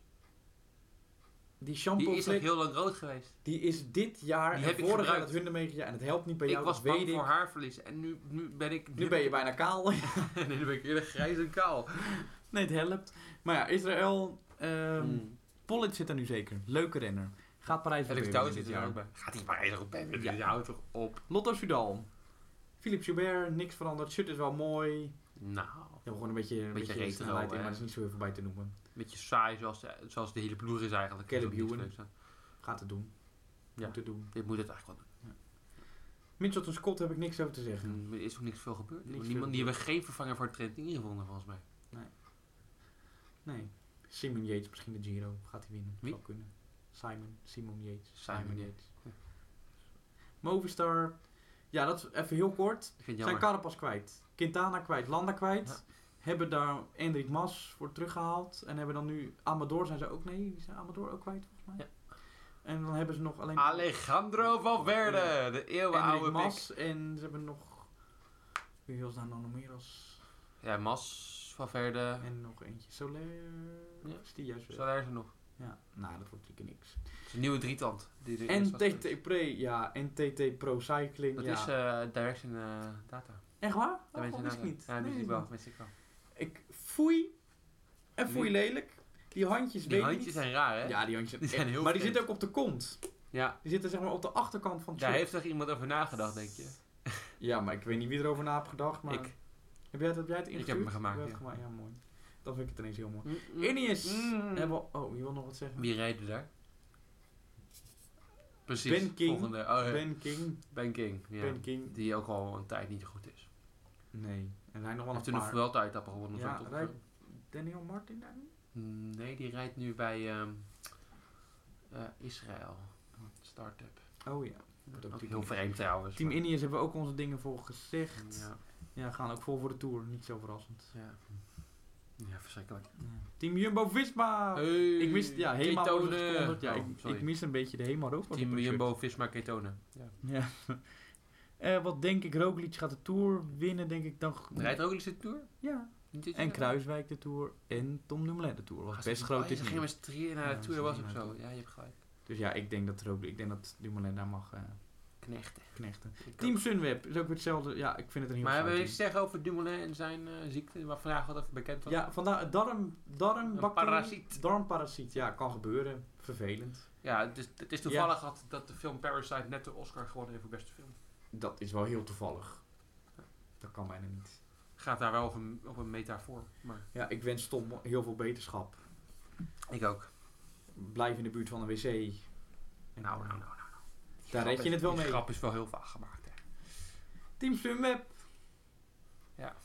Speaker 4: Die is nog
Speaker 1: shampoofles...
Speaker 4: heel lang rood geweest.
Speaker 1: Die is dit jaar
Speaker 4: Die
Speaker 1: en
Speaker 4: heb ik
Speaker 1: vorig jaar
Speaker 4: gebruikt.
Speaker 1: dat hundermeegje en het helpt niet bij
Speaker 4: ik
Speaker 1: jou,
Speaker 4: was
Speaker 1: dat weet
Speaker 4: bang
Speaker 1: ik.
Speaker 4: voor haarverlies en nu, nu ben ik...
Speaker 1: Nu ben je bijna kaal.
Speaker 4: nee, nu ben ik eerder grijs en kaal.
Speaker 1: nee, het helpt. Maar ja, Israël, ehm
Speaker 4: Mm.
Speaker 1: Pollitt zit er nu zeker. Leuke renner. Gaat Parijs
Speaker 4: Alex
Speaker 1: winnen
Speaker 4: Touw
Speaker 1: dit
Speaker 4: zit er
Speaker 1: jaar.
Speaker 4: ook bij. Gaat hij maar er ook bij winnen?
Speaker 1: Ja.
Speaker 4: Die houdt toch op.
Speaker 1: Lotto Soudal. Philippe Joubert, niks veranderd. Shirt is wel mooi. Ja,
Speaker 4: Nou,
Speaker 1: gewoon een beetje, een
Speaker 4: Beetje
Speaker 1: beetje,
Speaker 4: retro,
Speaker 1: snelheid in,
Speaker 4: hè?
Speaker 1: maar er is niet zoveel voor bij te noemen.
Speaker 4: een beetje saai zoals de, zoals de hele ploeg is eigenlijk.
Speaker 1: Caleb
Speaker 4: Dat is ook niet
Speaker 1: Ewan.
Speaker 4: zo leuk, hè.
Speaker 1: Gaat het doen.
Speaker 4: Ja.
Speaker 1: Moet het doen.
Speaker 4: Dit moet het eigenlijk wel
Speaker 1: Mitchelton Scott heb ik niks over te zeggen.
Speaker 4: doen. Er is ook niks veel gebeurd.
Speaker 1: Niks
Speaker 4: Niemand,
Speaker 1: veel
Speaker 4: die hebben geen vervanger voor Trent in gevonden volgens mij.
Speaker 1: Nee. Simon Yates, misschien de Giro. Gaat hij winnen.
Speaker 4: Wie?
Speaker 1: Zou kunnen. Simon. Simon Yates.
Speaker 4: Simon
Speaker 1: Yates. Movistar. Ja, dat is even heel kort.
Speaker 4: Ik vind het
Speaker 1: Zijn
Speaker 4: jammer.
Speaker 1: Carapaz kwijt. Quintana kwijt. Landa kwijt. Hebben daar Hendrik Mas voor teruggehaald. En hebben dan nu... Amador zijn ze ook... Nee, die zijn Amador ook kwijt volgens mij. En dan hebben ze nog alleen...
Speaker 4: Alejandro Valverde,
Speaker 1: Ja.
Speaker 4: de
Speaker 1: Hendrik
Speaker 4: eeuwenoude Mas.
Speaker 1: Mas. En ze hebben nog... Wie was daar nou nog meer als...
Speaker 4: Ja, Mas, Valverde.
Speaker 1: En nog eentje. Soler...
Speaker 4: Ja.
Speaker 1: Is die juist
Speaker 4: Zo
Speaker 1: weg?
Speaker 4: daar is er nog.
Speaker 1: Ja, nou dat wordt natuurlijk niks.
Speaker 4: Het is een nieuwe drietand. Die er eerst
Speaker 1: En
Speaker 4: was geweest.
Speaker 1: TT Pro, ja, en TT Pro Cycling,
Speaker 4: Dat
Speaker 1: ja.
Speaker 4: is eh Direction eh, Data.
Speaker 1: Echt waar?
Speaker 4: Dat weet je
Speaker 1: wist ik
Speaker 4: nou.
Speaker 1: niet.
Speaker 4: Ja, dat
Speaker 1: Nee,
Speaker 4: wist
Speaker 1: wist
Speaker 4: ik wel.
Speaker 1: niet.
Speaker 4: wist ik wel.
Speaker 1: Ik foei, en foei
Speaker 4: Nee.
Speaker 1: lelijk. Die handjes
Speaker 4: Die
Speaker 1: weet ik
Speaker 4: handjes
Speaker 1: niet.
Speaker 4: zijn raar, hè?
Speaker 1: Ja, die handjes
Speaker 4: Die
Speaker 1: zijn
Speaker 4: zijn
Speaker 1: echt-
Speaker 4: heel
Speaker 1: Maar die
Speaker 4: vreemd.
Speaker 1: zitten ook op de kont.
Speaker 4: Ja,
Speaker 1: Die zitten zeg maar op de achterkant van het
Speaker 4: daar
Speaker 1: shirt.
Speaker 4: heeft toch iemand over nagedacht, denk je?
Speaker 1: Ja, maar ik weet niet wie erover na heeft gedacht, maar...
Speaker 4: Ik.
Speaker 1: Heb jij het, heb jij het
Speaker 4: Ik heb
Speaker 1: ingestuurd?
Speaker 4: hem gemaakt,
Speaker 1: Heb jij het
Speaker 4: ja.
Speaker 1: gemaakt? Ja, mooi. Dan vind ik het ineens heel mooi.
Speaker 4: Mm, mm.
Speaker 1: Ineus!
Speaker 4: Mm.
Speaker 1: Hebben we- Oh, je wil nog wat zeggen?
Speaker 4: Wie rijden daar? Precies.
Speaker 1: Ben King.
Speaker 4: Volgende. Oh, ja. ben,
Speaker 1: Ben King.
Speaker 4: King. Ja.
Speaker 1: Ben King.
Speaker 4: Die ook al een tijd niet goed is.
Speaker 1: Nee. En hij nog wel
Speaker 4: Heeft
Speaker 1: een
Speaker 4: toen nog
Speaker 1: paar.
Speaker 4: wel tijd etappe gewonnen.
Speaker 1: Ja,
Speaker 4: zo, toch?
Speaker 1: rijdt- Daniel Martin daar niet?
Speaker 4: Mm, Nee, die rijdt nu bij ehm, eh, Israël. Startup.
Speaker 1: Oh ja. Wordt ook
Speaker 4: Ook
Speaker 1: die-
Speaker 4: heel vreemd trouwens.
Speaker 1: Team
Speaker 4: maar-
Speaker 1: Ineos hebben we ook onze dingen voor gezegd. Ja.
Speaker 4: Ja,
Speaker 1: gaan ook vol voor de Tour. Niet zo verrassend.
Speaker 4: ja. ja, verschrikkelijk.
Speaker 1: Team Jumbo-Visma. Ik mis... Ja, Hema wordt gesponsord. Ja,
Speaker 4: Oh,
Speaker 1: ik, Oh,
Speaker 4: sorry.
Speaker 1: ik mis een beetje de Hema ook. want
Speaker 4: Team
Speaker 1: ik heb een shirt.
Speaker 4: Jumbo-Visma Ketone. Ja.
Speaker 1: Ja. Eh, wat denk ik? Roglic gaat de Tour winnen, denk ik dan.
Speaker 4: Rijdt ook eens de
Speaker 1: Oh,
Speaker 4: Tour?
Speaker 1: Ja.
Speaker 4: Niet dit
Speaker 1: En
Speaker 4: jaar?
Speaker 1: Kruiswijk de Tour. En Tom Dumoulin de Tour.
Speaker 4: Gaan
Speaker 1: Wat
Speaker 4: ze-
Speaker 1: best groot
Speaker 4: oh, ja,
Speaker 1: is
Speaker 4: Ze
Speaker 1: nu.
Speaker 4: gingen met drieën naar
Speaker 1: Ja,
Speaker 4: de Tour,
Speaker 1: ze
Speaker 4: was
Speaker 1: gingen
Speaker 4: of
Speaker 1: naar de
Speaker 4: zo. Ja, je hebt gelijk.
Speaker 1: Dus ja, ik denk dat Roglic... Ik denk dat Dumoulin daar mag eh,
Speaker 4: Knechten.
Speaker 1: knechten.
Speaker 4: Ik
Speaker 1: Team
Speaker 4: ook.
Speaker 1: Sunweb is ook weer hetzelfde. Ja, ik vind het een heel
Speaker 4: Maar hebben
Speaker 1: saai team.
Speaker 4: we iets te zeggen over Dumoulin en zijn eh, ziekte, waar vandaag wat even bekend was?
Speaker 1: Ja, vandaar darm, darmbacterie.
Speaker 4: parasiet.
Speaker 1: Darmparasiet, ja, kan gebeuren. Vervelend.
Speaker 4: Ja, het is, het is toevallig dat, dat de film Parasite net de Oscar gewonnen heeft voor beste film.
Speaker 1: Dat is wel heel toevallig. Dat kan bijna niet.
Speaker 4: Gaat daar wel op een, op een metafoor, maar...
Speaker 1: Ja, ik wens Tom heel veel beterschap.
Speaker 4: Ik ook.
Speaker 1: Blijf in de buurt van een wc. En,
Speaker 4: Nou,
Speaker 1: eh,
Speaker 4: nou, nou, nou. nou. Die
Speaker 1: Daar
Speaker 4: grap
Speaker 1: red je
Speaker 4: is-
Speaker 1: het wel
Speaker 4: die
Speaker 1: mee.
Speaker 4: grap is wel heel vaag gemaakt, hè.
Speaker 1: Team Sunweb.
Speaker 4: Ja.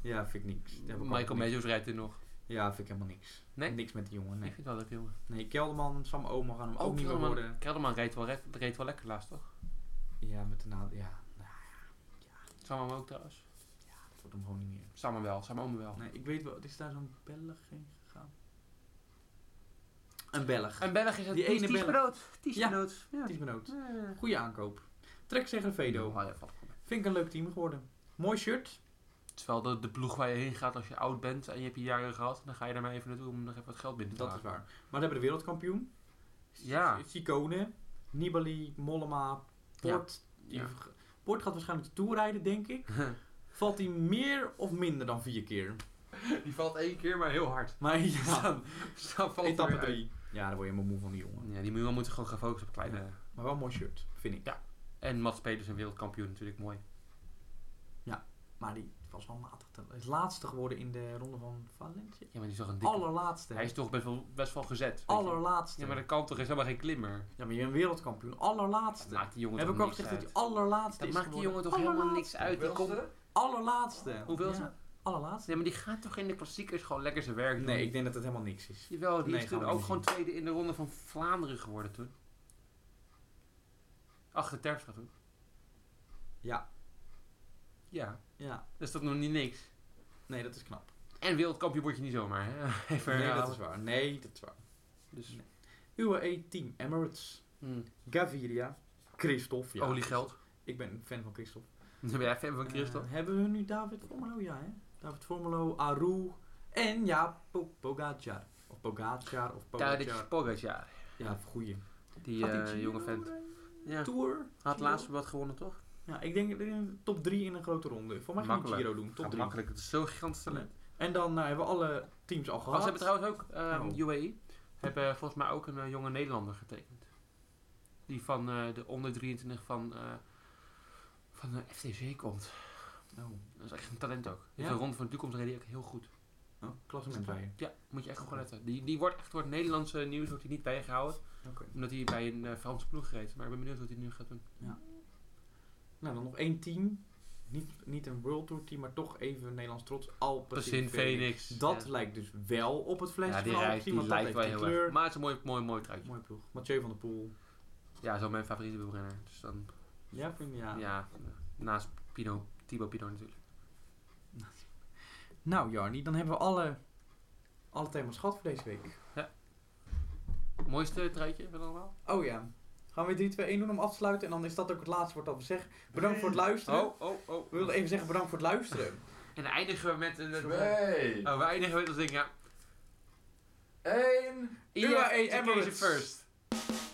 Speaker 1: Ja, vind ik niks. Daar heb ik
Speaker 4: Michael
Speaker 1: ook niks.
Speaker 4: Majors rijdt er nog.
Speaker 1: Ja, vind ik helemaal niks.
Speaker 4: Nee?
Speaker 1: Niks met die jongen,
Speaker 4: Ik
Speaker 1: nee.
Speaker 4: vind het wel leuk, jongen.
Speaker 1: Nee, Kelderman, Sam Oma gaan hem ook niet meer
Speaker 4: Oh, Kelderman-
Speaker 1: worden.
Speaker 4: Kelderman reed wel, ref- reed wel lekker laatst, toch?
Speaker 1: Ja, met de naad. Ja, nou,
Speaker 4: Samen ook trouwens.
Speaker 1: dat wordt hem gewoon niet meer.
Speaker 4: Samen wel, samen ook wel.
Speaker 1: Nee, ik weet wel, is daar zo'n Belg heen gegaan? Een Belg.
Speaker 4: En Belg is het
Speaker 1: Die
Speaker 4: die
Speaker 1: ene
Speaker 4: ene
Speaker 1: Belg.
Speaker 4: Tiesbenoot. Tiesbenoot.
Speaker 1: Het is benoemd. Goeie aankoop. Trek tegen Vedo.
Speaker 4: Oh, ja, valt goed mee.
Speaker 1: Vind ik een leuk team geworden. Mooi shirt.
Speaker 4: Het is wel de, de ploeg waar je heen gaat als je oud bent en je hebt je jaren gehad. Dan ga je daarmee even naartoe om nog even wat geld binnen te
Speaker 1: Dat is
Speaker 4: halen.
Speaker 1: waar. Maar we hebben de wereldkampioen.
Speaker 4: Ja.
Speaker 1: Ciccone. Nibali, Mollema, Port.
Speaker 4: Ja.
Speaker 1: Die- Port gaat waarschijnlijk de Tour rijden, denk ik. Valt hij meer of minder dan vier keer?
Speaker 4: Die valt één keer, maar heel hard.
Speaker 1: Maar ja,
Speaker 4: Staan valt
Speaker 1: etappe
Speaker 4: weer uit.
Speaker 1: drie. Ja, daar word je helemaal moe van die jongen.
Speaker 4: Ja, die moet wel moeten gewoon gaan focussen op kleine.
Speaker 1: Maar wel een mooi shirt, vind ik.
Speaker 4: En Mats Pedersen, wereldkampioen, natuurlijk mooi.
Speaker 1: Maar die was wel matig. te- Hij is laatste geworden in de ronde van Valencia.
Speaker 4: Ja, maar die is toch een dikke...
Speaker 1: Allerlaatste.
Speaker 4: Hij is toch best wel, best wel gezet. weet je.
Speaker 1: allerlaatste.
Speaker 4: Ja, maar dat kan toch? Hij is helemaal geen klimmer.
Speaker 1: je bent wereldkampioen. Allerlaatste.
Speaker 4: Dat maakt die jongen
Speaker 1: Heb
Speaker 4: toch
Speaker 1: ik al
Speaker 4: niks
Speaker 1: gezegd dat
Speaker 4: uit.
Speaker 1: hij allerlaatste
Speaker 4: Dat
Speaker 1: is
Speaker 4: maakt die
Speaker 1: geworden?
Speaker 4: jongen toch helemaal niks uit. Die komt-
Speaker 3: Hoeveelste?
Speaker 1: Allerlaatste.
Speaker 4: Hoeveel is
Speaker 1: Ja,
Speaker 4: dat?
Speaker 1: Allerlaatste.
Speaker 4: Nee, maar die gaat toch in de klassiekers gewoon lekker zijn werk doen?
Speaker 1: Nee, ik denk dat het helemaal niks is.
Speaker 4: Jawel, die
Speaker 1: Nee,
Speaker 4: is
Speaker 1: gaan
Speaker 4: toen
Speaker 1: we
Speaker 4: ook
Speaker 1: niet
Speaker 4: gewoon
Speaker 1: zien.
Speaker 4: tweede in de ronde van Vlaanderen geworden toen. Achter Terpstra toen.
Speaker 1: Ja.
Speaker 4: Ja,
Speaker 1: Ja.
Speaker 4: dat is toch nog niet niks.
Speaker 1: Nee, dat is knap.
Speaker 4: En wereldkampioen word je niet zomaar, hè? Even
Speaker 1: Nee, dat
Speaker 4: herhalen.
Speaker 1: is waar. Nee, dat is waar.
Speaker 4: Dus,
Speaker 1: UAE E Team Emirates.
Speaker 4: hmm.
Speaker 1: Gaviria. Christophe. Ja.
Speaker 4: Oliegeld.
Speaker 1: Ik ben een fan van Christophe.
Speaker 4: Dan ben jij fan van Christophe.
Speaker 1: Eh, hebben we nu David Formelo? Ja, hè? David Formelo, Aru en ja, Po- Pogacar. Of Pogacar of
Speaker 4: Tadic
Speaker 1: Pogacar.
Speaker 4: Pogacar.
Speaker 1: Ja, goeie.
Speaker 4: Die
Speaker 1: Gaat die
Speaker 4: eh,
Speaker 1: Giro
Speaker 4: jonge vent. Ja,
Speaker 1: Tour.
Speaker 4: had
Speaker 1: Giro.
Speaker 4: laatst wat gewonnen, toch?
Speaker 1: Ja, ik denk eh, top 3 in een grote ronde. Voor mij gaan we
Speaker 4: Makkelijk.
Speaker 1: Giro doen. Top
Speaker 4: Gaat
Speaker 1: 3.
Speaker 4: makkelijk, het is zo'n gigantisch talent.
Speaker 1: En dan nou, hebben we alle teams al
Speaker 4: Oh,
Speaker 1: gehad.
Speaker 4: ze hebben trouwens ook, ehm
Speaker 1: Oh.
Speaker 4: UAE, hebben volgens mij ook een eh, jonge Nederlander getekend. Die van eh, de onder 23 van, eh, van eh, de FTC komt.
Speaker 1: Oh,
Speaker 4: Dat is echt een talent ook.
Speaker 1: Ja?
Speaker 4: Ja? De ronde van de toekomst reed hij ook heel goed.
Speaker 1: oh klassement rijden.
Speaker 4: Ja, moet je echt gewoon letten. Die, die wordt echt door het Nederlandse nieuws wordt hij niet bijgehouden.
Speaker 1: Oké.
Speaker 4: Omdat hij bij een eh, Franse ploeg reed. Maar ik ben benieuwd wat hij nu gaat doen.
Speaker 1: Nou, dan nog één team. Niet, niet een World Tour team, maar toch even Nederlands trots. Alpecin
Speaker 4: Precies, Phoenix.
Speaker 1: Dat
Speaker 4: ja.
Speaker 1: lijkt dus wel op het flesje
Speaker 4: Ja, die,
Speaker 1: van
Speaker 4: rijdt,
Speaker 1: Alpecin,
Speaker 4: die
Speaker 1: want dat
Speaker 4: lijkt wel
Speaker 1: heeft
Speaker 4: heel
Speaker 1: die kleur.
Speaker 4: erg. Maar het is een mooi, mooi, mooi truitje.
Speaker 1: Mooie ploeg. Mathieu van der Poel.
Speaker 4: Ja, zo mijn favoriete wielrenner. Dus dan,
Speaker 1: Ja, vind je? Ja.
Speaker 4: ja, naast Pino, Thibaut Pino natuurlijk.
Speaker 1: Nou Jarni, dan hebben we alle, alle thema's gehad voor deze week. mm.
Speaker 4: Mooiste truitje van allemaal?
Speaker 1: Oh ja. Gaan we 3, 2, 1 doen om af te sluiten. En dan is dat ook het laatste woord dat we zeggen. Bedankt voor het luisteren.
Speaker 4: oh, oh.
Speaker 1: We wilden even zeggen bedankt voor het luisteren.
Speaker 4: En dan eindigen we met eh, een.
Speaker 3: Twee.
Speaker 4: Oh, we eindigen met als ding, ja.
Speaker 3: Eén.
Speaker 1: UAE
Speaker 4: Education
Speaker 1: Emirates.
Speaker 4: first.